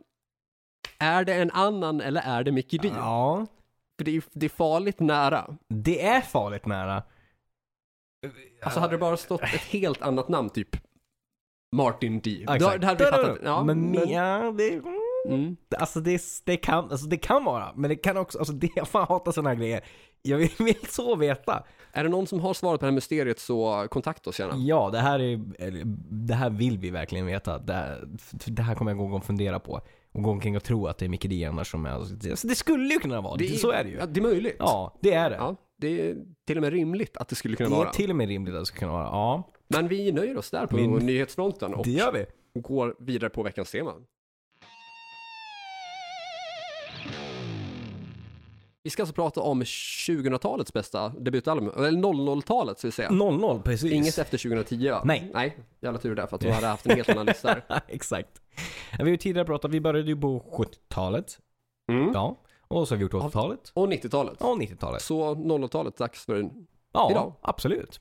A: är det en annan eller är det Mickey D?
B: Ja.
A: För det är, det är farligt nära.
B: Det är farligt nära.
A: Alltså hade det bara stått ett helt annat namn, typ Martin D.
B: Ja,
A: Då,
B: exakt.
A: det hade vi fattat.
B: Ja,
A: Ja,
B: men,
A: men-
B: ja, det, mm,
A: Mm.
B: alltså, det, det, kan, alltså, det kan vara, men det kan också, alltså det, jag fan hatar sådana här grejer. Jag vill, vill så veta.
A: Är det någon som har svaret på det här mysteriet så kontakta oss gärna.
B: Ja, det här, är, eller, det här vill vi verkligen veta. Det här, det här kommer jag gå omkring och fundera på. Och gå omkring och tro att det är Micke D annars som är... Alltså, det skulle ju kunna vara, det, så är det ju.
A: Ja, det är möjligt.
B: Ja, det är det.
A: Ja, det är till och med rimligt att det skulle kunna
B: det är
A: vara.
B: till och med rimligt att det ska kunna vara. Ja,
A: Men vi nöjer oss där på
B: Min-
A: nyhetsfronten och
B: det gör vi.
A: går vidare på veckans tema. Vi ska alltså prata om 2000-talets bästa debutalbum, eller 00-talet ska vi säga.
B: 0-0, precis.
A: Inget efter 2010 va?
B: Mm. Nej.
A: Nej, jävla tur där för att då hade jag haft en helt annan lista där.
B: Exakt. Vi har ju tidigare pratat, vi började ju på 70-talet.
A: Mm.
B: Ja. Och så har vi gjort 80-talet.
A: Och 90-talet.
B: Och 90-talet.
A: Så 00-talet, dags för en...
B: Ja,
A: Idag.
B: absolut.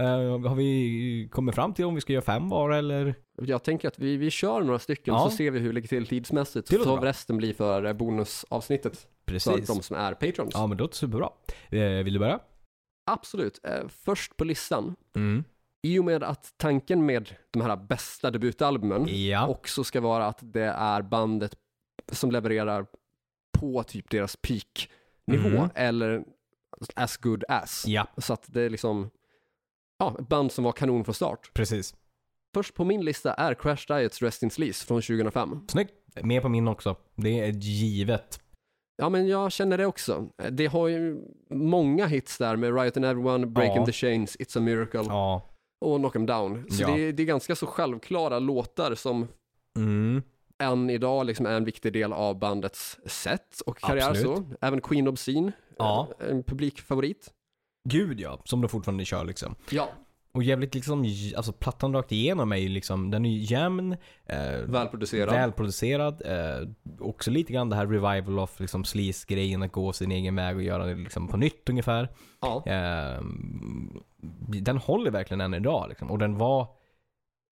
B: Eh, har vi kommit fram till om vi ska göra fem var eller?
A: Jag tänker att vi, vi kör några stycken
B: Ja.
A: så ser vi hur det ligger till tidsmässigt.
B: Det låter
A: Så
B: bra.
A: resten blir för eh, bonusavsnittet.
B: Precis.
A: för de som är patrons.
B: Ja, men det låter superbra. Eh, vill du börja?
A: Absolut. Eh, först på listan,
B: Mm.
A: i och med att tanken med de här bästa debutalbumen
B: Ja.
A: också ska vara att det är bandet som levererar på typ deras peak-nivå
B: Mm.
A: eller as good as.
B: Ja,
A: Så att det är liksom ja, ett band som var kanon från start.
B: precis.
A: Först på min lista är Crash Diets Rest in Sleaze från 2005.
B: Snyggt. Med på min också. Det är givet.
A: Ja, men jag känner det också. Eh, Det har ju många hits där med Riot and Everyone, Breaking
B: Ja.
A: the Chains, It's a Miracle.
B: Ja.
A: och Knock 'em down. Så
B: Ja.
A: det, är- det är ganska så självklara låtar som
B: Mm.
A: än idag liksom är en viktig del av bandets set och karriär. Så.
B: Absolut.
A: Även Queen Obscene,
B: Ja.
A: eh, en publikfavorit.
B: Gud ja, som de fortfarande kör liksom.
A: Ja,
B: Och jävligt liksom, j- alltså plattan rakt igenom är ju liksom, den är ju jämn, eh,
A: välproducerad.
B: välproducerad, eh, också lite grann det här revival of liksom sleaze-grejen, att gå sin egen väg och göra det liksom på nytt ungefär.
A: Ja.
B: Eh, den håller verkligen än idag liksom. Och den var,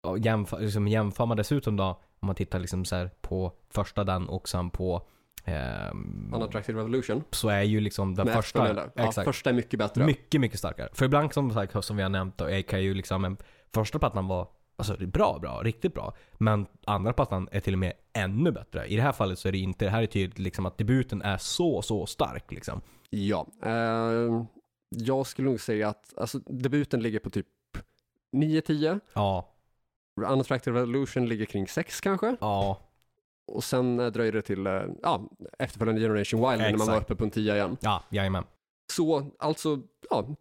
B: ja, jämför, liksom, jämför man dessutom då, om man tittar liksom så här på första den och sen på ehm,
A: Unattractive Revolution.
B: så är ju liksom den
A: med
B: första,
A: efterföljande. ja,
B: exakt,
A: första är mycket bättre.
B: mycket, mycket starkare. För ibland som, sagt, som vi har nämnt då, AK ju liksom, en- första plattan var alltså, det är bra, bra, riktigt bra. Men andra plattan är till och med ännu bättre. I det här fallet så är det inte, det här är tydligt liksom att debuten är så, så stark liksom.
A: Ja. Eh, jag skulle nog säga att alltså, debuten ligger på typ 9-10.
B: Ja,
A: Unattractive Revolution ligger kring 6 kanske.
B: ja,
A: Och sen eh, dröjer det till eh, ja, efterföljande Generation Wild när man
B: Exakt.
A: var uppe på en 10 igen.
B: ja, jajamän.
A: Så alltså, ja,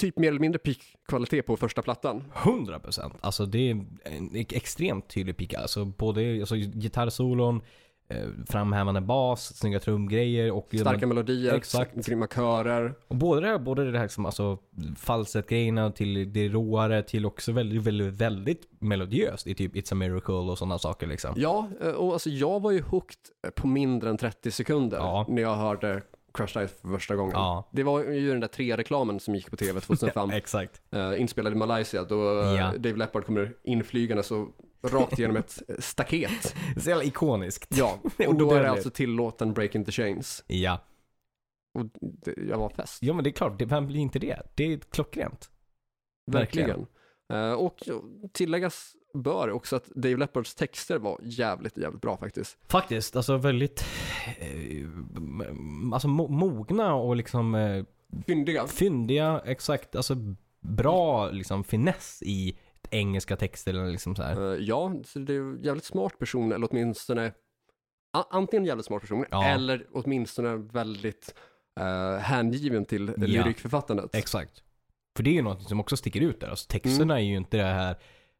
A: typ mer eller mindre peak-kvalitet på första plattan.
B: 100 procent. Alltså det är en extremt tydlig pika. Alltså både alltså, gitarrsolon, eh, framhävande bas, snygga trumgrejer och
A: Starka melodier,
B: Exakt.
A: grymma körer.
B: Och både det här, både det här som, alltså, falsettgrejerna till det råare till också väldigt, väldigt, väldigt melodiöst i typ It's a Miracle och sådana saker liksom.
A: Ja, eh, och alltså jag var ju hooked på mindre än 30 sekunder
B: Ja.
A: när jag hörde Crash Dive för första gången.
B: Ja,
A: Det var ju den där tre-reklamen som gick på tv 2005,
B: exakt.
A: eh, inspelad i Malaysia, då eh,
B: Ja.
A: Dave Leppard kommer inflygande så rakt genom ett eh, staket.
B: Så jävla ikoniskt.
A: Ja,
B: Det är
A: och då är det
B: odödligt.
A: alltså tillåten Break Into Chains.
B: Ja.
A: Och det, jag var fest.
B: ja, men det är klart, det, vem blir inte det? Det är klockrent.
A: Verkligen.
B: Verkligen.
A: Eh, och tilläggas bör också att Dave Leppards texter var jävligt, jävligt bra faktiskt.
B: Faktiskt, alltså väldigt eh, alltså, mo- mogna och liksom eh,
A: Fyndiga.
B: fyndiga, exakt, alltså bra liksom finess i engelska texter eller liksom så här.
A: Eh, ja, så det är en jävligt smart person, eller åtminstone a- antingen jävligt smart person,
B: Ja.
A: eller åtminstone väldigt eh, hängiven till
B: Ja.
A: lyrikförfattandet.
B: Exakt. För det är ju något som också sticker ut där. Alltså, texterna
A: Mm.
B: är ju inte det här,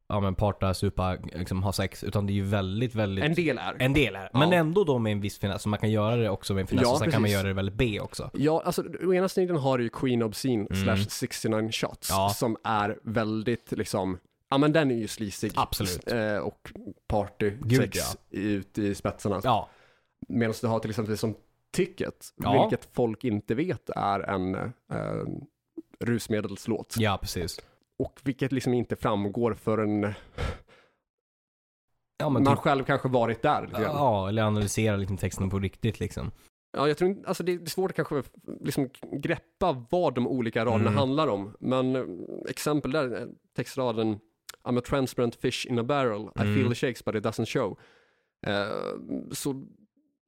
B: ja men parta, supa, liksom ha sex. Utan det är ju väldigt, väldigt...
A: en del är.
B: en del här.
A: Ja.
B: Men ändå då med en viss finess. Så man kan göra det också med en finess.
A: Ja,
B: och sen kan man
A: precis.
B: göra det väldigt B också.
A: Ja, alltså å ena sidan har du ju Queen Obscene slash 69 Shots
B: Mm. Ja.
A: som är väldigt liksom, ja men den är ju sleazig.
B: Absolut.
A: Eh, och party
B: Gud,
A: sex ut i spetsarna.
B: Ja,
A: Medan du har till exempel som Ticket,
B: Ja.
A: vilket folk inte vet är en eh, rusmedelslåt.
B: ja precis.
A: Och vilket liksom inte framgår förrän
B: Ja, men
A: man
B: typ,
A: själv kanske varit där. Lite grann.
B: ja, eller analysera liksom texten på riktigt liksom.
A: Ja, jag tror inte, alltså det är svårt att kanske liksom greppa vad de olika raderna
B: Mm.
A: handlar om. Men eh, exempel där, eh, textraden I'm a transparent fish in a barrel, I
B: Mm.
A: feel the shakes but it doesn't show. Eh, så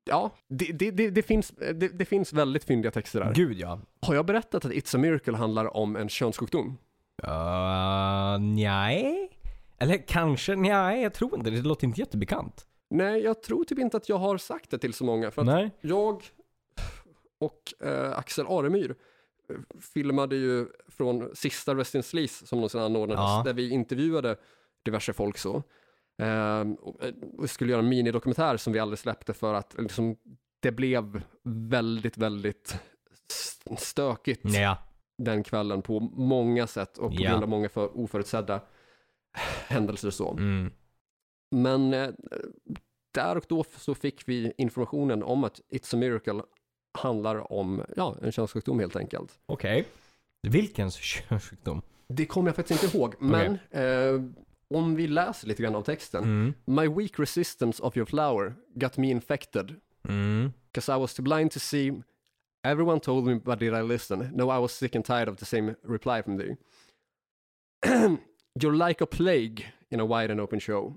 A: ja, det, det, det, det, finns, eh, det, det finns väldigt fyndiga texter där.
B: Gud ja.
A: Har jag berättat att It's a Miracle handlar om en könssjukdom?
B: Uh, nej. Eller kanske, nej jag tror inte det. Det låter inte jättebekant.
A: Nej, jag tror typ inte att jag har sagt det till så många. För att
B: Nej.
A: jag och eh, Axel Aremyr eh, filmade ju från sista Rest in Sleaze som någonsin anordnades,
B: Ja.
A: där vi intervjuade diverse folk så. Ehm, och, eh, och vi skulle göra en minidokumentär som vi aldrig släppte för att liksom, det blev väldigt, väldigt st- stökigt
B: Ja.
A: den kvällen på många sätt och på
B: Ja.
A: grund av många för oförutsedda händelser så.
B: Mm.
A: Men eh, där och då f- så fick vi informationen om att It's a Miracle handlar om ja, en könssjukdom helt enkelt.
B: Okej. Vilkens könssjukdom?
A: Det kommer jag faktiskt inte ihåg, men eh, om vi läser lite grann av texten.
B: Mm.
A: My weak resistance of your flower got me infected,
B: Mm.
A: cause I was too blind to see. Everyone told me, but did I listen? No, I was sick and tired of the same reply from thee. You're like a plague in a wide and open show.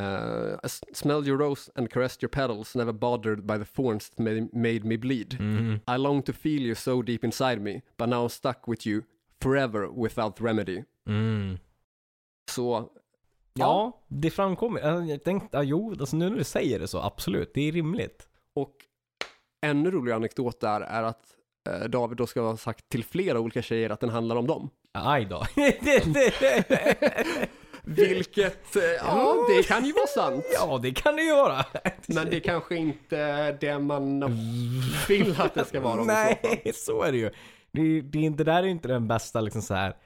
A: Uh, I s- smelled your rose and caressed your petals, never bothered by the thorns that made, made me bleed.
B: Mm.
A: I long to feel you so deep inside me, but now I'm stuck with you forever without remedy.
B: Mm.
A: Så
B: Ja, det framkommer. Eh, Jag tänkte, ja, jo, alltså nu när du säger det så, absolut, det är rimligt.
A: Och ännu roligare anekdot där är att eh, David då ska ha sagt till flera olika tjejer att den handlar om dem.
B: Ah, Aj då. Det- det-
A: Vilket, eh, ja det kan ju vara sant.
B: ja, det kan det ju vara.
A: Men det är kanske inte det man vill att det ska vara om i så fall.
B: Nej, så är det ju. Det, det, är inte- det där är ju inte den bästa liksom så här.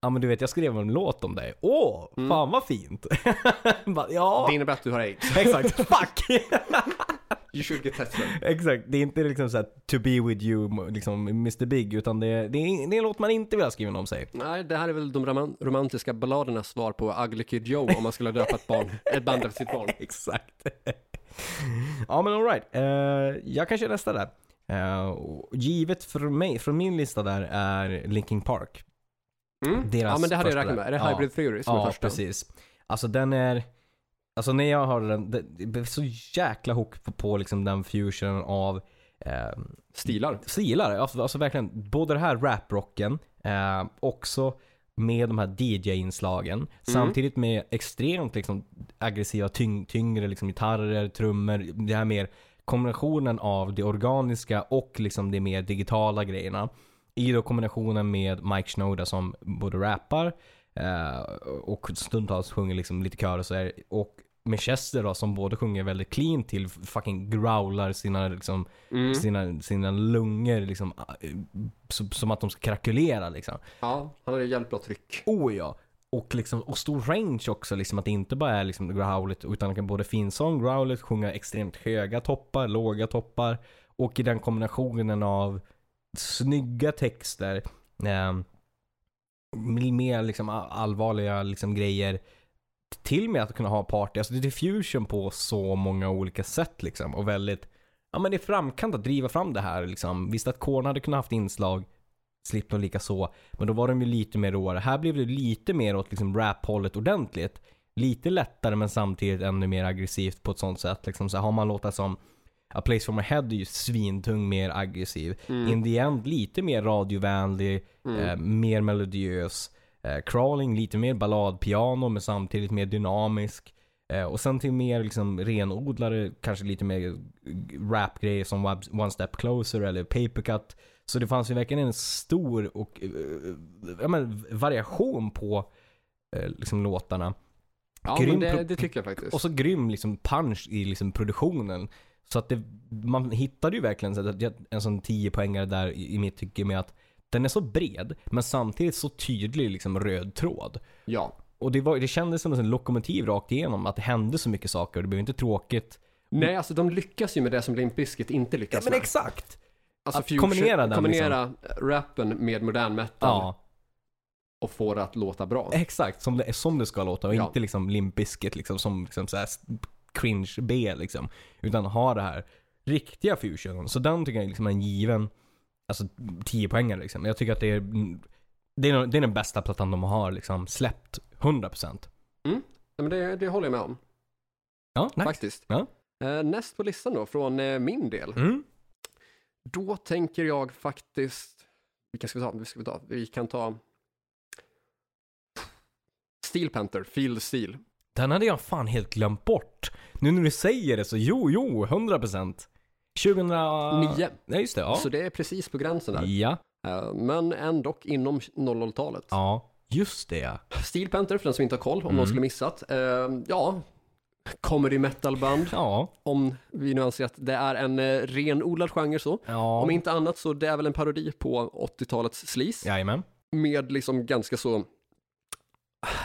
B: Ja men du vet, jag skrev en låt om dig. Åh,
A: Mm.
B: fan vad fint. Bara, ja,
A: Det innebär att du har aids.
B: exakt. Fuck!
A: You should get tested.
B: Exakt, det är inte liksom såhär to be with you, liksom Mr Big, utan det, det, är, det är en låt man inte vill ha skriven om sig.
A: Nej, det här är väl de roman- romantiska balladernas svar på Ugly Kid Joe om man skulle döpa ett, barn, ett band efter sitt barn.
B: Exakt. ja men alright, uh, jag kanske röstar där. Eh, och givet för mig, från min lista där är Linkin Park.
A: Mm?
B: Deras
A: Ja men det hade jag
B: första
A: räknat
B: där.
A: med. Är det
B: Ja.
A: Hybrid Theory som är
B: ja
A: första?
B: precis. Alltså den är, alltså när jag hörde den, det, det blev så jäkla hook på, på liksom den fusionen av ehm,
A: Stilar.
B: stilar. Alltså, alltså verkligen, både det här raprocken, eh, också med de här DJ-inslagen. Samtidigt med extremt liksom, aggressiva, tyng- tyngre liksom, gitarrer, trummor. Det här mer kombinationen av det organiska och liksom, det mer digitala grejerna. I då kombinationen med Mike Shinoda som både rappar eh, och stundtals sjunger liksom, lite kör och så här. Och med Chester då, som både sjunger väldigt clean till fucking growlar sina, liksom,
A: Mm.
B: sina, sina lungor liksom, eh, som, som att de ska krackelera liksom.
A: Ja, han hade jävligt bra tryck.
B: Oh ja. Och, liksom, och stor range också, liksom, att det inte bara är liksom growlet utan det kan både finsång, growlet, sjunga extremt höga toppar, låga toppar och i den kombinationen av snygga texter, eh, mer liksom all- allvarliga liksom grejer, till och med att kunna ha party, alltså det är diffusion på så många olika sätt liksom och väldigt, ja men det är framkant att driva fram det här liksom. Visst att Korn hade kunnat haft inslag, Slipknot lika så. Men då var de ju lite mer råare. Här blev det lite mer åt liksom rap-hållet ordentligt. Lite lättare men samtidigt ännu mer aggressivt på ett sånt sätt. Liksom så här, har man låtar som A Place For My Head är ju svintung, mer aggressiv.
A: Mm.
B: In the End lite mer radiovänlig, eh, mer melodiös. Eh, crawling lite mer balladpiano men samtidigt mer dynamisk. Eh, och sen till mer liksom renodlade, kanske lite mer rapgrejer som Wab- One Step Closer eller Papercut. Så det fanns ju verkligen en stor och, eh, ja, men, variation på eh, liksom, låtarna.
A: Ja,
B: Grym
A: men det,
B: pro-
A: det tycker jag faktiskt.
B: Och så grym liksom, punch i liksom, produktionen. Så att det, man hittade ju verkligen så att, jag- en sån 10-poängare där i, i mitt tycke med att den är så bred men samtidigt så tydlig liksom, röd tråd.
A: ja.
B: Och det, var, det kändes som en sån lokomotiv rakt igenom att det hände så mycket saker och det blev inte tråkigt.
A: Nej, alltså de lyckas ju med det som Limp Bizkit inte lyckas med.
B: exakt!
A: Alltså
B: att kombinera den, liksom.
A: kombinera rappen med modern metal
B: Ja.
A: och få det att låta bra.
B: Exakt, som det, som det ska låta och
A: Ja.
B: inte liksom Limp Bizkit liksom som liksom så här cringe B liksom. Utan ha det här riktiga fusionen. Så den tycker jag liksom är en given, alltså 10 poängare liksom. Jag tycker att det är, det är, nog- det är den bästa plattan de har liksom släppt, 100%.
A: Ja, men det, det håller jag med om,
B: Ja, nej.
A: faktiskt.
B: Ja.
A: Eh, näst på listan då, från eh, min del.
B: Mm.
A: Då tänker jag faktiskt, vilka ska vi ta? Vi, ska vi, ta? vi kan ta Steel Panther, Field Steel.
B: Den hade jag fan helt glömt bort. Nu när du säger det så jo, jo, 100%. 2009.
A: Nio.
B: Nej, just det. Ah. Ja.
A: Så det är precis på gränsen där.
B: ja.
A: Eh, Men ändå inom 00-talet.
B: Ja, Mm. just det ja.
A: Steel Panther, för den som inte har koll, om någon skulle missat. Eh, ja, comedy metal-band,
B: Ja.
A: om vi nu anser att det är en eh, renodlad genre så.
B: ja.
A: Om inte annat så det är väl en parodi på 80-talets sleaze.
B: Jajamän.
A: med liksom ganska så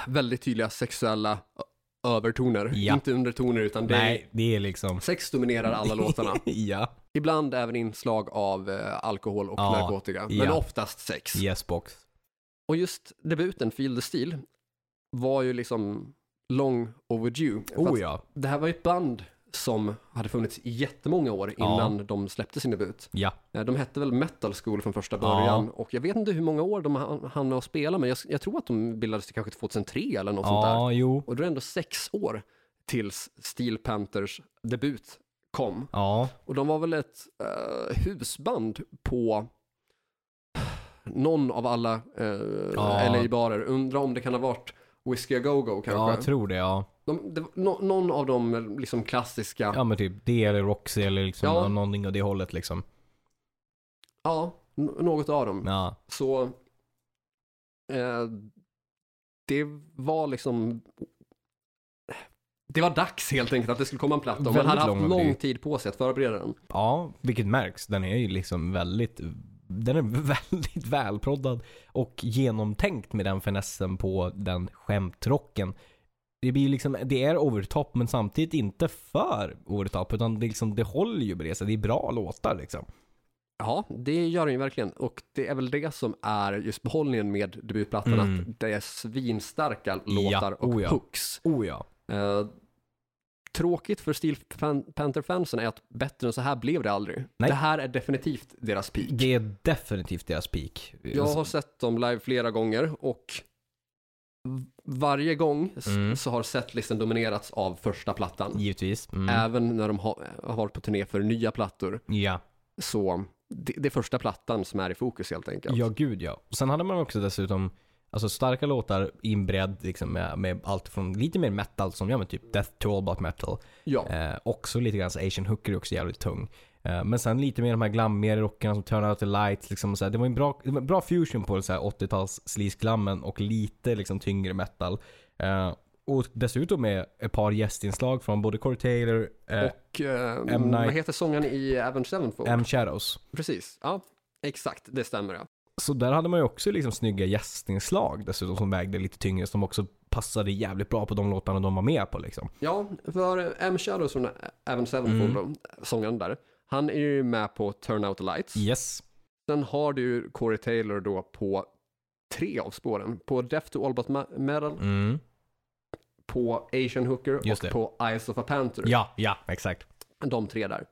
A: väldigt tydliga sexuella ö- övertoner.
B: Ja.
A: Inte undertoner utan det är
B: Nej, det är liksom...
A: sex dominerar alla låtarna.
B: ja.
A: Ibland även inslag av eh, alkohol och
B: Ja.
A: narkotika, men
B: Ja.
A: oftast sex.
B: Yes box.
A: Och just debuten Feel the Steel var ju liksom long overdue. För att
B: Oh ja.
A: Det här var ju ett band som hade funnits i jättemånga år innan de släppte sin debut.
B: Ja.
A: Eh, De hette väl Metal School från första
B: Ja.
A: början och jag vet inte hur många år de hann- hann med att spela men jag, jag tror att de bildades kanske 2003 eller något sånt där.
B: Ja, jo.
A: Och då är det ändå sex år tills Steel Panthers debut kom.
B: Ja.
A: Och de var väl ett eh, husband på någon av alla eh,
B: Ja.
A: LA-barer. Undrar om det kan ha varit Whiskey A Go-Go
B: Ja,
A: kanske.
B: jag tror det ja.
A: de, det, var nå- någon av de eh, liksom klassiska, ja,
B: Ja men typ det eller Roxy eller liksom
A: Ja.
B: någonting av det hållet liksom.
A: n- något av dem.
B: Ja.
A: Så eh, det var liksom det var dags helt enkelt att det skulle komma en platta och man
B: Väldigt
A: hade haft
B: lång
A: lång
B: melodi.
A: tid på sig att förbereda den.
B: Ja, vilket märks. Den är ju liksom väldigt, den är väldigt välproddad och genomtänkt med den finessen på den skämtrocken. Det blir liksom, det är over the top men samtidigt inte för over the top utan det, liksom, det håller ju på det sättet. Det är bra låtar liksom.
A: Ja, det gör den ju verkligen och det är väl det som är just behållningen med debutplattan
B: Mm.
A: att det är svinstarka
B: Ja,
A: låtar och
B: oh ja.
A: hooks.
B: Oh ja.
A: Eh, tråkigt för Steel Pan- Panther-fansen är att bättre än så här blev det aldrig.
B: Nej.
A: Det här är definitivt deras peak.
B: Det är definitivt deras peak.
A: Jag har sett dem live flera gånger och v- varje gång s-
B: Mm.
A: så har setlisten dominerats av första plattan.
B: Givetvis. Mm.
A: Även när de har, har varit på turné för nya plattor.
B: Ja.
A: Så det, det är första plattan som är i fokus helt enkelt.
B: ja, gud ja. Och sen hade man också dessutom alltså starka låtar inbredd liksom, med, med allt från lite mer metal som jag men typ death to all but metal.
A: Ja.
B: Eh, också lite grann så Asian hooker är också jävligt tung. Eh, men sen lite mer de här glammigare rockarna som Turn Out The Lights. Liksom, och så här. Det var en bra, det var en bra fusion på så här 80-tals sleaze-glammen och lite liksom tyngre metal. Eh, Och dessutom med ett par gästinslag från både Corey Taylor eh,
A: Och eh,
B: M. Night-
A: vad heter sången i Avenged Sevenfold?
B: M. Shadows.
A: Precis, ja. Exakt, det stämmer ja.
B: Så där hade man ju också liksom snygga gästinslag dessutom som vägde lite tyngre som också passade jävligt bra på de låtarna de var med på liksom.
A: Ja, för M. Shadows från Avenged
B: Mm.
A: Sevenfold, då, sångaren där, han är ju med på Turn Out The Lights.
B: Yes.
A: Sen har du ju Corey Taylor då på tre av spåren. På Death to All But Ma- Metal,
B: Mm.
A: på Asian Hooker
B: Just
A: och
B: det.
A: på Eyes of a Panther.
B: Ja, ja, exakt.
A: De tre där.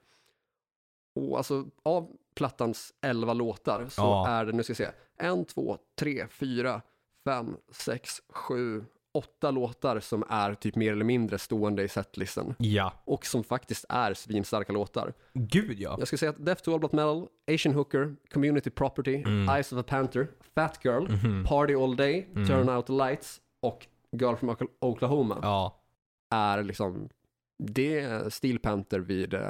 A: Och alltså av plattans elva låtar så
B: Ja.
A: är det, nu ska vi se, en, två, tre, fyra, fem, sex, sju, åtta låtar som är typ mer eller mindre stående i setlisten.
B: Ja.
A: Och som faktiskt är svinstarka låtar.
B: Gud ja.
A: Jag skulle säga att Death to All But Metal, Asian Hooker, Community Property,
B: Mm.
A: Eyes of a Panther, Fat Girl,
B: Mhm.
A: Party All Day, Turn Out the Lights och Girl from Oka- Oklahoma
B: Ja.
A: är liksom, det är Steel Panther vid eh,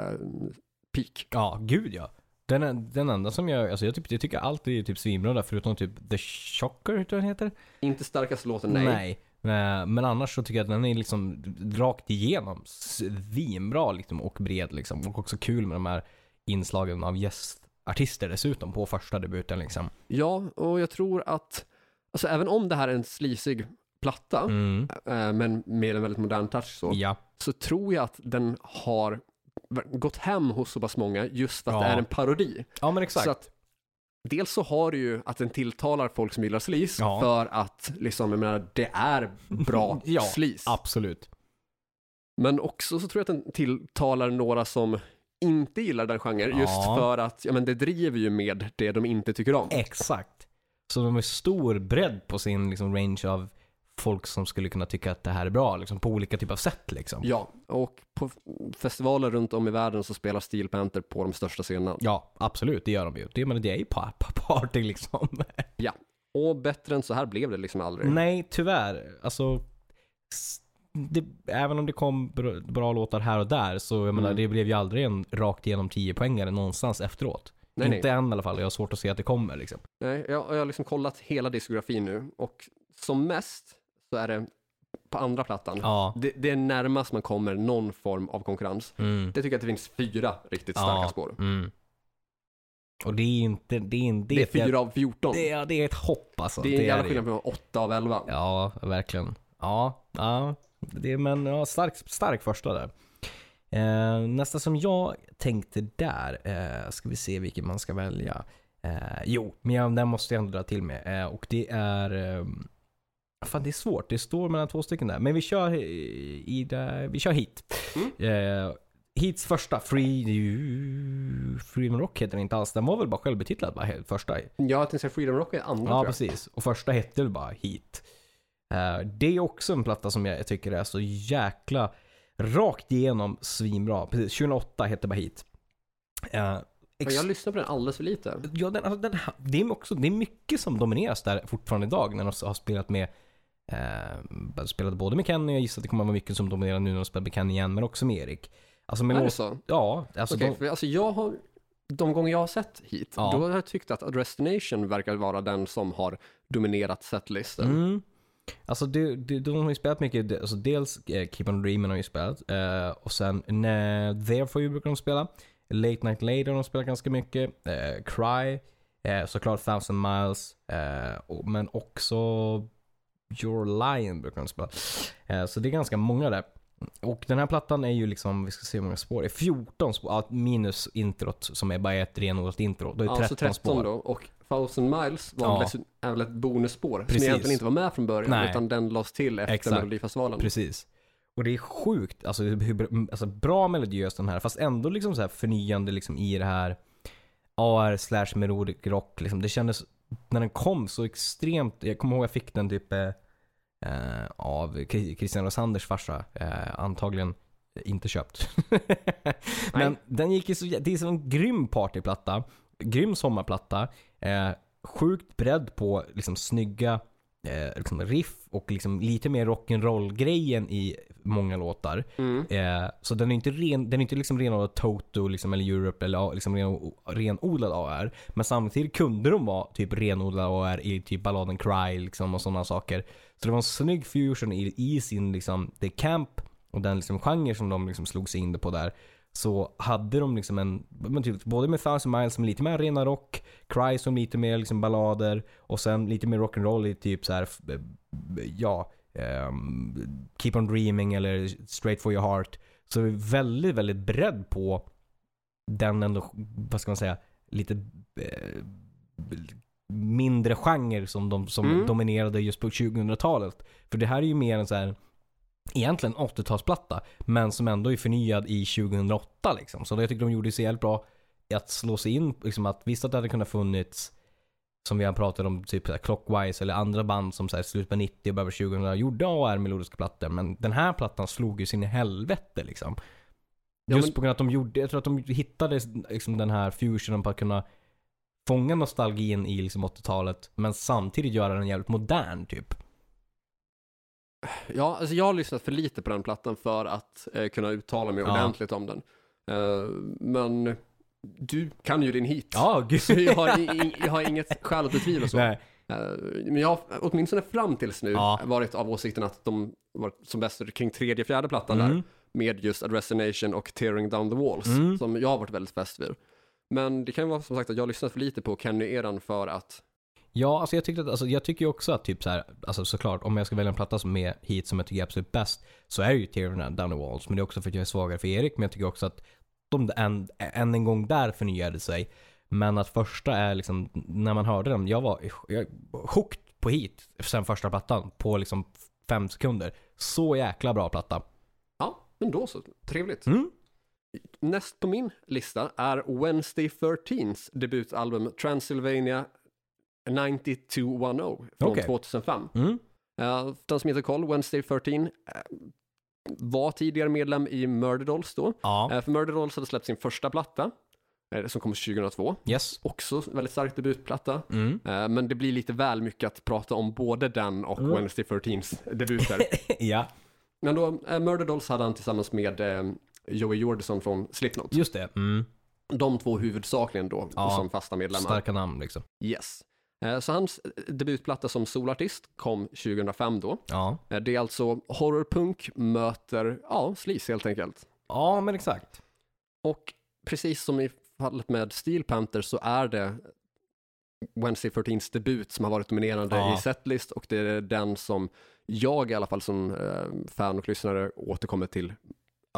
A: peak.
B: Ja, gud ja. Den, den enda som jag, alltså jag, typ, jag tycker alltid är typ svinbra där förutom typ The Shocker tror jag den heter.
A: Inte starkaste låten, nej.
B: Eh, Men annars så tycker jag att den är liksom rakt igenom svinbra liksom och bred liksom. Och också kul med de här inslagen av gästartister dessutom på första debuten liksom.
A: Ja, och jag tror att, alltså även om det här är en slisig platta,
B: Mm.
A: eh, men med en väldigt modern touch så,
B: Ja.
A: så tror jag att den har gått hem hos så pass många just för att
B: Ja.
A: det är en parodi.
B: ja, men exakt.
A: Så att dels så har du ju att den tilltalar folk som gillar slis
B: Ja.
A: för att liksom, jag menar, det är bra
B: Ja,
A: slis.
B: Absolut.
A: Men också så tror jag att den tilltalar några som inte gillar den genren just
B: Ja.
A: för att ja, men det driver ju med det de inte tycker om.
B: Exakt. Så de har stor bredd på sin liksom, range av folk som skulle kunna tycka att det här är bra liksom, på olika typer av sätt liksom.
A: Ja, och på f- festivaler runt om i världen så spelar Steel Panther på de största scenerna.
B: Ja, absolut. Det gör de ju. Det, men det är ju pa- pa- party liksom.
A: Ja, och bättre än så här blev det liksom aldrig.
B: Nej, tyvärr. Alltså, s- det, även om det kom bra, bra låtar här och där så jag
A: Mm.
B: menar, det blev ju aldrig en rakt igenom 10 poängare någonstans efteråt.
A: Nej, nej.
B: Inte än i alla fall. Jag har svårt att se att det kommer liksom.
A: Nej, jag, jag har liksom kollat hela diskografin nu och som mest så är det på andra plattan.
B: Ja.
A: Det, det är närmast man kommer någon form av konkurrens.
B: Mm.
A: Det tycker jag att det finns fyra riktigt starka
B: ja.
A: spår.
B: Mm. Och det är inte... Det är, inte-
A: Det är
B: ett jä-
A: fyra av 14.
B: Det är, det är ett hopp alltså.
A: Det är en jävla
B: ju.
A: skillnad på 8 av 11.
B: Ja, verkligen. Ja, ja. Det, är- men ja, stark, stark första där. Eh, nästa som jag tänkte där, eh, ska vi se vilken man ska välja. Eh, jo, men jag, den måste jag ändå dra till med. Eh, och det är... Eh, fan, det är svårt. Det står mellan två stycken där. Men vi kör, i, i det, vi kör hit. Eh, Hits första, Free... Freedom Rock heter den inte alls. Den var väl bara självbetitlad, bara, he- första.
A: Ja, jag tänkte säga Freedom Rock är andra
B: Ja,
A: tror jag.
B: precis. Och första hette väl bara Heat. Eh, det är också en platta som jag tycker är så jäkla rakt igenom svinbra. Precis, 2008 hette bara Heat. Eh,
A: Men
B: ex-
A: jag lyssnar på den alldeles för lite.
B: ja, den, alltså, den, det, är också, det är mycket som domineras där fortfarande idag när de har spelat med eh, spelade både med Kenny, jag gissar att det kommer att vara mycket som dominerar nu när de spelar med Kenny igen, men också med Erik. Alltså med
A: är det
B: låt-
A: så?
B: Ja, alltså
A: Okej,
B: de,
A: för alltså jag har, de gånger jag har sett hit,
B: Ja.
A: då har jag tyckt att Destination verkar vara den som har dominerat setlisten.
B: Mm. Alltså de, de, de har ju spelat mycket, de- alltså dels eh, Keep On Dreaming har ju spelat eh, och sen ne, Therefore You brukar de spela. Late Night Later har de spelat ganska mycket. Eh, Cry, eh, såklart Thousand Miles, eh, och, men också Your Lion brukar de spela. Eh, så det är ganska många där. Och den här plattan är ju liksom, vi ska se hur många spår det är, 14 spår, ja, minus introt som är bara ett renodlat intro. Då är det 13,
A: Alltså 13
B: spår.
A: då, och Thousand Miles var
B: Ja.
A: dessutom- är väl ett bonusspår
B: Precis.
A: som egentligen inte var med från början,
B: Nej.
A: utan den lades till efter
B: Exakt.
A: Melodifestivalen.
B: Precis. Och det är sjukt alltså, hur br- alltså, bra melodiös den här, fast ändå liksom så här förnyande liksom, i det här AR slash melodic rock. Liksom. Det kändes, när den kom så extremt, jag kommer ihåg jag fick den typ eh, eh, av Kri- Christian Rosanders farsa, eh, antagligen inte köpt. Men den gick ju så, jä- det är som en grym partyplatta, grym sommarplatta, eh, sjukt bredd på liksom snygga eh, liksom riff och liksom lite mer rock'n'roll-grejen i många låtar.
A: Mm.
B: Eh, så den är inte, ren, den är inte liksom renodlad Toto liksom, eller Europe eller ja, liksom ren, renodlad AR. Men samtidigt kunde de vara typ renodlad AR i typ balladen Cry liksom, och sådana saker. Så det var en snygg fusion i, i sin liksom, det camp och den liksom, genre som de liksom, slog sig in på där. Så hade de liksom en, men typ, både med Thousand Miles som är lite mer rena rock, Cry som lite mer liksom ballader och sen lite mer rock'n'roll i typ så här, f- eh, ja, ehm, Keep On Dreaming eller Straight For Your Heart. Så vi är väldigt, väldigt bredd på den ändå, vad ska man säga, lite eh, mindre genre som, de, som
A: Mm.
B: dominerade just på 2000-talet. För det här är ju mer en så här egentligen 80-talsplatta, men som ändå är förnyad i 2008 liksom. Så det jag tycker de gjorde så jävligt bra i att slå sig in, liksom att visst att det hade kunnat funnits som vi har pratat om, typ så här Clockwise eller andra band som så här, slutet på 90 och början på 2000 gjorde AR melodiska plattor. Men den här plattan slog ju sin i helvete liksom.
A: Ja,
B: Just
A: men-
B: på grund av att de gjorde, jag tror att de hittade liksom, den här fusionen på att kunna fånga nostalgin i liksom 80-talet men samtidigt göra den jävligt modern typ.
A: Ja, alltså jag har lyssnat för lite på den plattan för att eh, kunna uttala mig
B: Ja.
A: ordentligt om den. Eh, men du kan ju din hit.
B: Ja, gud.
A: Så jag har, i- i- jag har inget skäl att betvivla så.
B: Nej.
A: Eh, Men jag har åtminstone fram tills nu
B: Ja.
A: varit av åsikten att de var som bäst kring tredje, fjärde plattan där.
B: Mm.
A: Med just Addressination och Tearing Down the Walls.
B: Mm.
A: Som jag har varit väldigt fäst vid. Men det kan ju vara som sagt att jag har lyssnat för lite på Kenny-eran för att...
B: Ja, alltså jag, tyckte att, alltså jag tycker ju också att typ så här, alltså såklart om jag ska välja en platta som är hit som jag tycker är absolut bäst så är det ju Tear Down the Walls. Men det är också för att jag är svagare för Erik. Men jag tycker också att de än, än en gång där förnyade sig. Men att första är liksom, när man hörde den, jag var jag, hooked på hit sen första plattan på liksom fem sekunder. Så jäkla bra platta.
A: Ja, men då så. Trevligt.
B: Mm.
A: Näst på min lista är Wednesday 13s debutalbum Transylvania 9210 från
B: Okej.
A: 2005.
B: Mm.
A: Uh, den som heter Koll, Wednesday 13, eh, var tidigare medlem i Murder Dolls då.
B: Ja.
A: Eh, för Murder Dolls hade släppt sin första platta, eh, som kom 2002.
B: Yes.
A: Också en väldigt stark debutplatta.
B: Mm.
A: Eh, men det blir lite väl mycket att prata om både den och
B: Mm.
A: Wednesday 13s debuter.
B: ja,
A: men då, eh, Murder Dolls hade han tillsammans med eh, Joey Jordison från Slipknot.
B: just det. Mm.
A: De två huvudsakligen då
B: Ja.
A: som fasta medlemmar.
B: Starka namn liksom.
A: Yes. Eh, Så hans debutplatta som solartist kom 2005 då.
B: Ja.
A: Eh, Det är alltså horrorpunk möter, ja, sleaze helt enkelt.
B: Ja, men exakt.
A: Och precis som i fallet med Steel Panther så är det Wednesday 13s debut som har varit dominerande
B: Ja.
A: i setlist och det är den som jag i alla fall som eh, fan och lyssnare återkommer till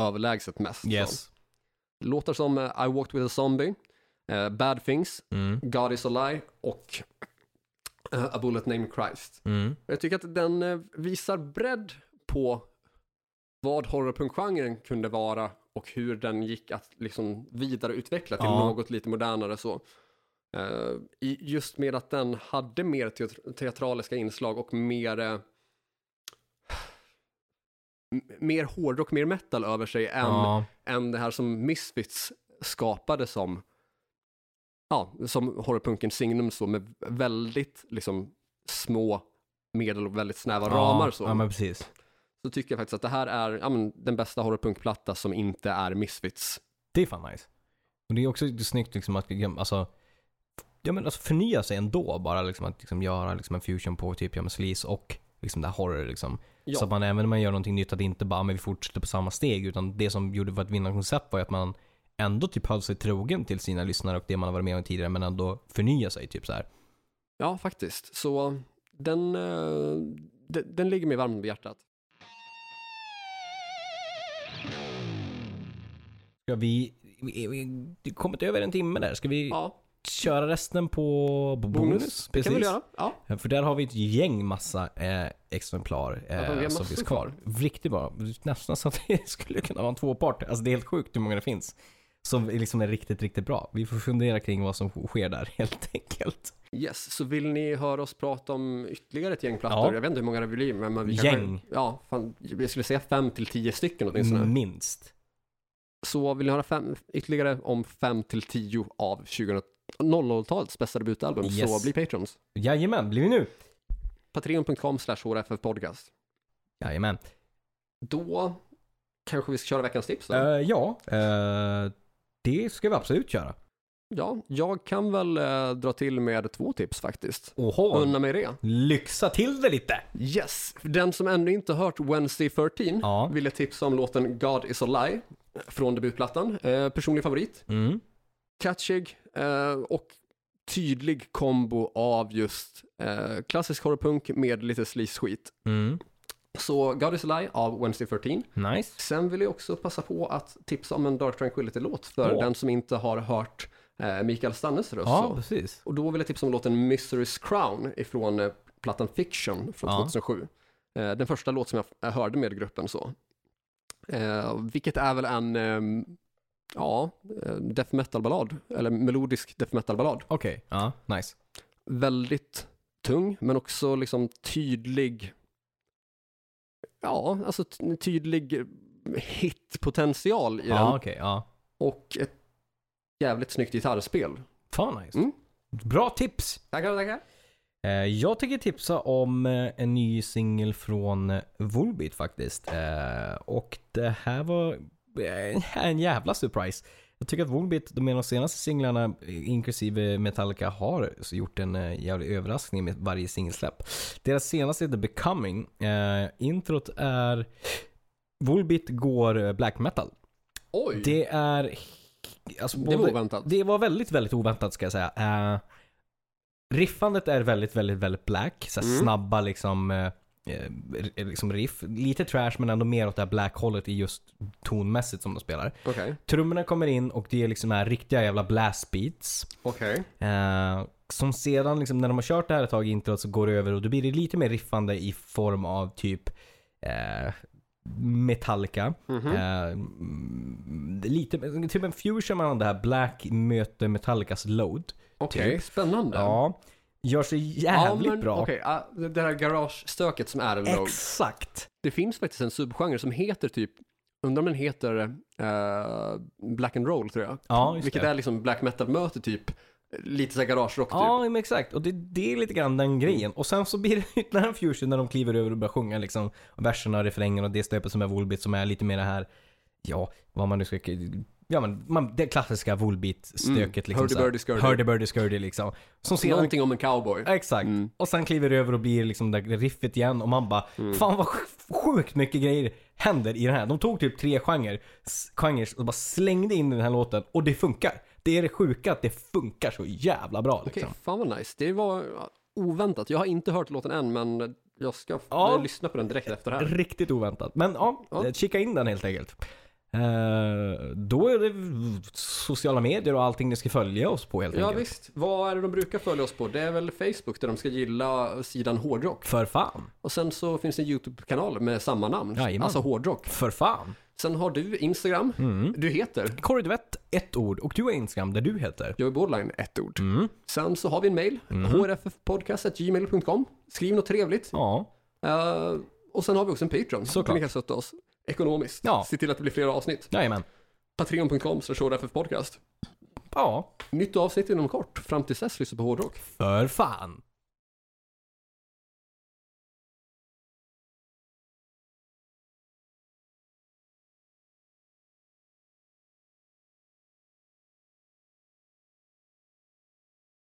A: överlägset mest.
B: Yes.
A: Så, Låtar som eh, I Walked With A Zombie, eh, Bad Things,
B: Mm.
A: God Is A Lie och eh, A Bullet Named Christ.
B: Mm.
A: Jag tycker att den eh, visar bredd på vad horrorpunkgenren kunde vara och hur den gick att liksom vidareutveckla till
B: Ja.
A: något lite modernare så. Eh, i- just med att den hade mer teat- teatraliska inslag och mer eh, m- mer hårdrock, mer metal över sig än,
B: Ja.
A: än det här som Misfits skapade som ja, som horrorpunken signum så med väldigt liksom små medel och väldigt snäva ramar så.
B: Ja, men precis.
A: Så tycker jag faktiskt att det här är ja, men, den bästa horrorpunkplatta som inte är Misfits.
B: Det är fan nice. Och det är också snyggt liksom att alltså, ja, men alltså förnya sig ändå. Bara liksom att liksom göra liksom en fusion på typ ja, men sleaze och liksom det här horror. Liksom.
A: Ja.
B: Så att man även när man gör någonting nytt att det inte bara men vi fortsätter på samma steg. Utan det som gjorde för att vinna koncept var ju att man ändå typ höll sig trogen till sina lyssnare och det man har varit med om tidigare men ändå förnya sig typ så här.
A: Ja, faktiskt. Så den, eh, den, den ligger mig varmt om hjärtat.
B: Ska vi, vi, vi, vi kommit över en timme där. Ska vi
A: Ja,
B: köra resten på bonus?
A: bonus. Det
B: Precis.
A: kan vi göra. Ja.
B: Ja, Eh, För där har vi ett gäng massa eh, exemplar eh,
A: Ja, de är
B: som
A: massor
B: finns kvar. Riktigt bra. Nästan så att det skulle kunna vara en tvåpart. Alltså det är helt sjukt hur många det finns. Som är liksom är riktigt, riktigt bra. Vi får fundera kring vad som sker där helt enkelt.
A: Yes, så vill ni höra oss prata om ytterligare ett gäng plattor?
B: Ja.
A: Jag vet inte hur många det blir, men men vi kanske-
B: Gäng. Mm.
A: Ja, fan, jag skulle säga fem till tio stycken åtminstone.
B: Minst.
A: Så vill ni höra fem, ytterligare om 5 till 10 av 2000 00-talets bästa debutalbum så
B: Yes.
A: bli patrons.
B: Jajamän, blir vi nu?
A: Patreon.com slash hrffpodcast.
B: Jajamän.
A: Då kanske vi ska köra veckans tips då?
B: Eh, ja, eh, det ska vi absolut köra.
A: Ja, jag kan väl eh, dra till med två tips faktiskt.
B: Oho,
A: Unna mig det.
B: lyxa till det lite!
A: Yes, den som ännu inte hört Wednesday 13
B: Ja.
A: ville tipsa om låten God is a lie från debutplattan. Eh, personlig favorit.
B: Mm.
A: Catchig eh, och tydlig kombo av just eh, klassisk horrorpunk med lite sleaze-skit.
B: Mm.
A: Så God is a lie av Wednesday 13.
B: Nice.
A: Sen vill jag också passa på att tipsa om en Dark Tranquility-låt för
B: Åh.
A: den som inte har hört eh, Mikael Stannes röst.
B: Ja,
A: Så.
B: precis.
A: Och då vill jag tipsa om låten Mystery's Crown ifrån eh, plattan Fiction från
B: Ja.
A: 2007. Eh, den första låt som jag f- jag hörde med gruppen så. Eh, vilket är väl en, eh, ja, eh, death metal-ballad, eller melodisk death metal-ballad.
B: Okej, ja, nice.
A: Väldigt tung, men också liksom tydlig, ja, alltså t- tydlig hitpotential i
B: Ja,
A: den.
B: okej, ja.
A: Och ett jävligt snyggt gitarrspel.
B: Fan nice.
A: Mm.
B: Bra tips!
A: Tackar, tackar.
B: Eh, Jag tänker tipsa om eh, en ny singel från eh, Volbeat faktiskt. Eh, Och det här var eh, en jävla surprise. Jag tycker att Volbeat, de en av de senaste singlarna, eh, inklusive Metallica, har så gjort en eh, jävlig överraskning med varje singelsläpp. Deras senaste heter Becoming. Eh, Introt är... Volbeat går eh, black metal.
A: Oj, det,
B: Det är... Alltså, både,
A: var oväntat.
B: det var väldigt, väldigt oväntat ska jag säga. Eh, riffandet är väldigt, väldigt, väldigt black. Så här
A: Mm.
B: Snabba liksom, eh, eh, r- liksom riff. Lite trash men ändå mer åt det här black-hållet i just tonmässigt som de spelar.
A: Okej,
B: Trummorna kommer in och det är liksom här riktiga jävla blast beats.
A: okej.
B: Eh, som sedan, liksom, när de har kört det här ett tag i introt så går det över och då blir det lite mer riffande i form av typ eh, Metallica.
A: Mhm.
B: Eh, mm, lite, typ en fusion mellan det här Black möter Metallicas Load.
A: Okej,
B: Typ.
A: spännande.
B: Ja. Gör sig jävligt
A: men
B: bra.
A: Okej, ah, det det här garage-stöket som är en rogue.
B: Exakt.
A: Det finns faktiskt en subgenre som heter typ, undrar om den heter eh, black and roll tror jag.
B: Ja, just
A: Vilket
B: det.
A: är liksom black metal möter typ lite såhär garagerock typ. Mm.
B: Ja, men exakt. Och det, det är lite grann den grejen. Och sen så blir det ytterligare en fusion när de kliver över och börjar sjunga liksom verserna och refrängen och det stöpet som är Volbeat som är lite mer det här, ja, vad man nu ska... Ja, men man, det klassiska
A: Mm.
B: Volbeat-stöket. liksom
A: Hurdy
B: så här.
A: Burdy Skurdy.
B: Hurdy Burdy Skurdy liksom. Som sedan
A: Någonting om en cowboy.
B: Exakt.
A: Mm.
B: Och sen kliver det över och blir liksom det där riffet igen och man bara Fan vad sj- sjukt mycket grejer händer i den här. De tog typ tre genrer, s- genrer och bara slängde in i den här låten och det funkar. Det är det sjuka att det funkar så jävla bra
A: Okej,
B: liksom.
A: fan vad nice. Det var oväntat. Jag har inte hört låten än men jag ska f-
B: Ja.
A: lyssna på den direkt efter det här.
B: Riktigt oväntat. Men ja,
A: Ja.
B: eh, kika in den helt enkelt. Eh, då är det v- sociala medier och allting ni ska följa oss på helt
A: Ja
B: enkelt.
A: visst, vad är det de brukar följa oss på? Det är väl Facebook där de ska gilla sidan hårdrock.
B: För fan.
A: Och sen så finns det en YouTube-kanal med samma namn,
B: Jajamän.
A: alltså hårdrock.
B: För fan.
A: Sen har du Instagram,
B: Mm.
A: du heter
B: Corey Duvett, ett ord. Och du har Instagram där du heter.
A: Joey Borderline, ett ord.
B: Mm.
A: Sen så har vi en mail, hrffpodcast.gmail.com. Skriv något trevligt.
B: Ja.
A: Eh, och sen har vi också en Patreon.
B: Såklart.
A: där Ni kan stötta oss ekonomiskt.
B: Ja.
A: Se till att det blir fler avsnitt.
B: Jajamän.
A: Patreon.com slash hrffpodcast.
B: Ja.
A: Nytt avsnitt inom kort. Fram till dess lyssna på hårdrock.
B: För fan.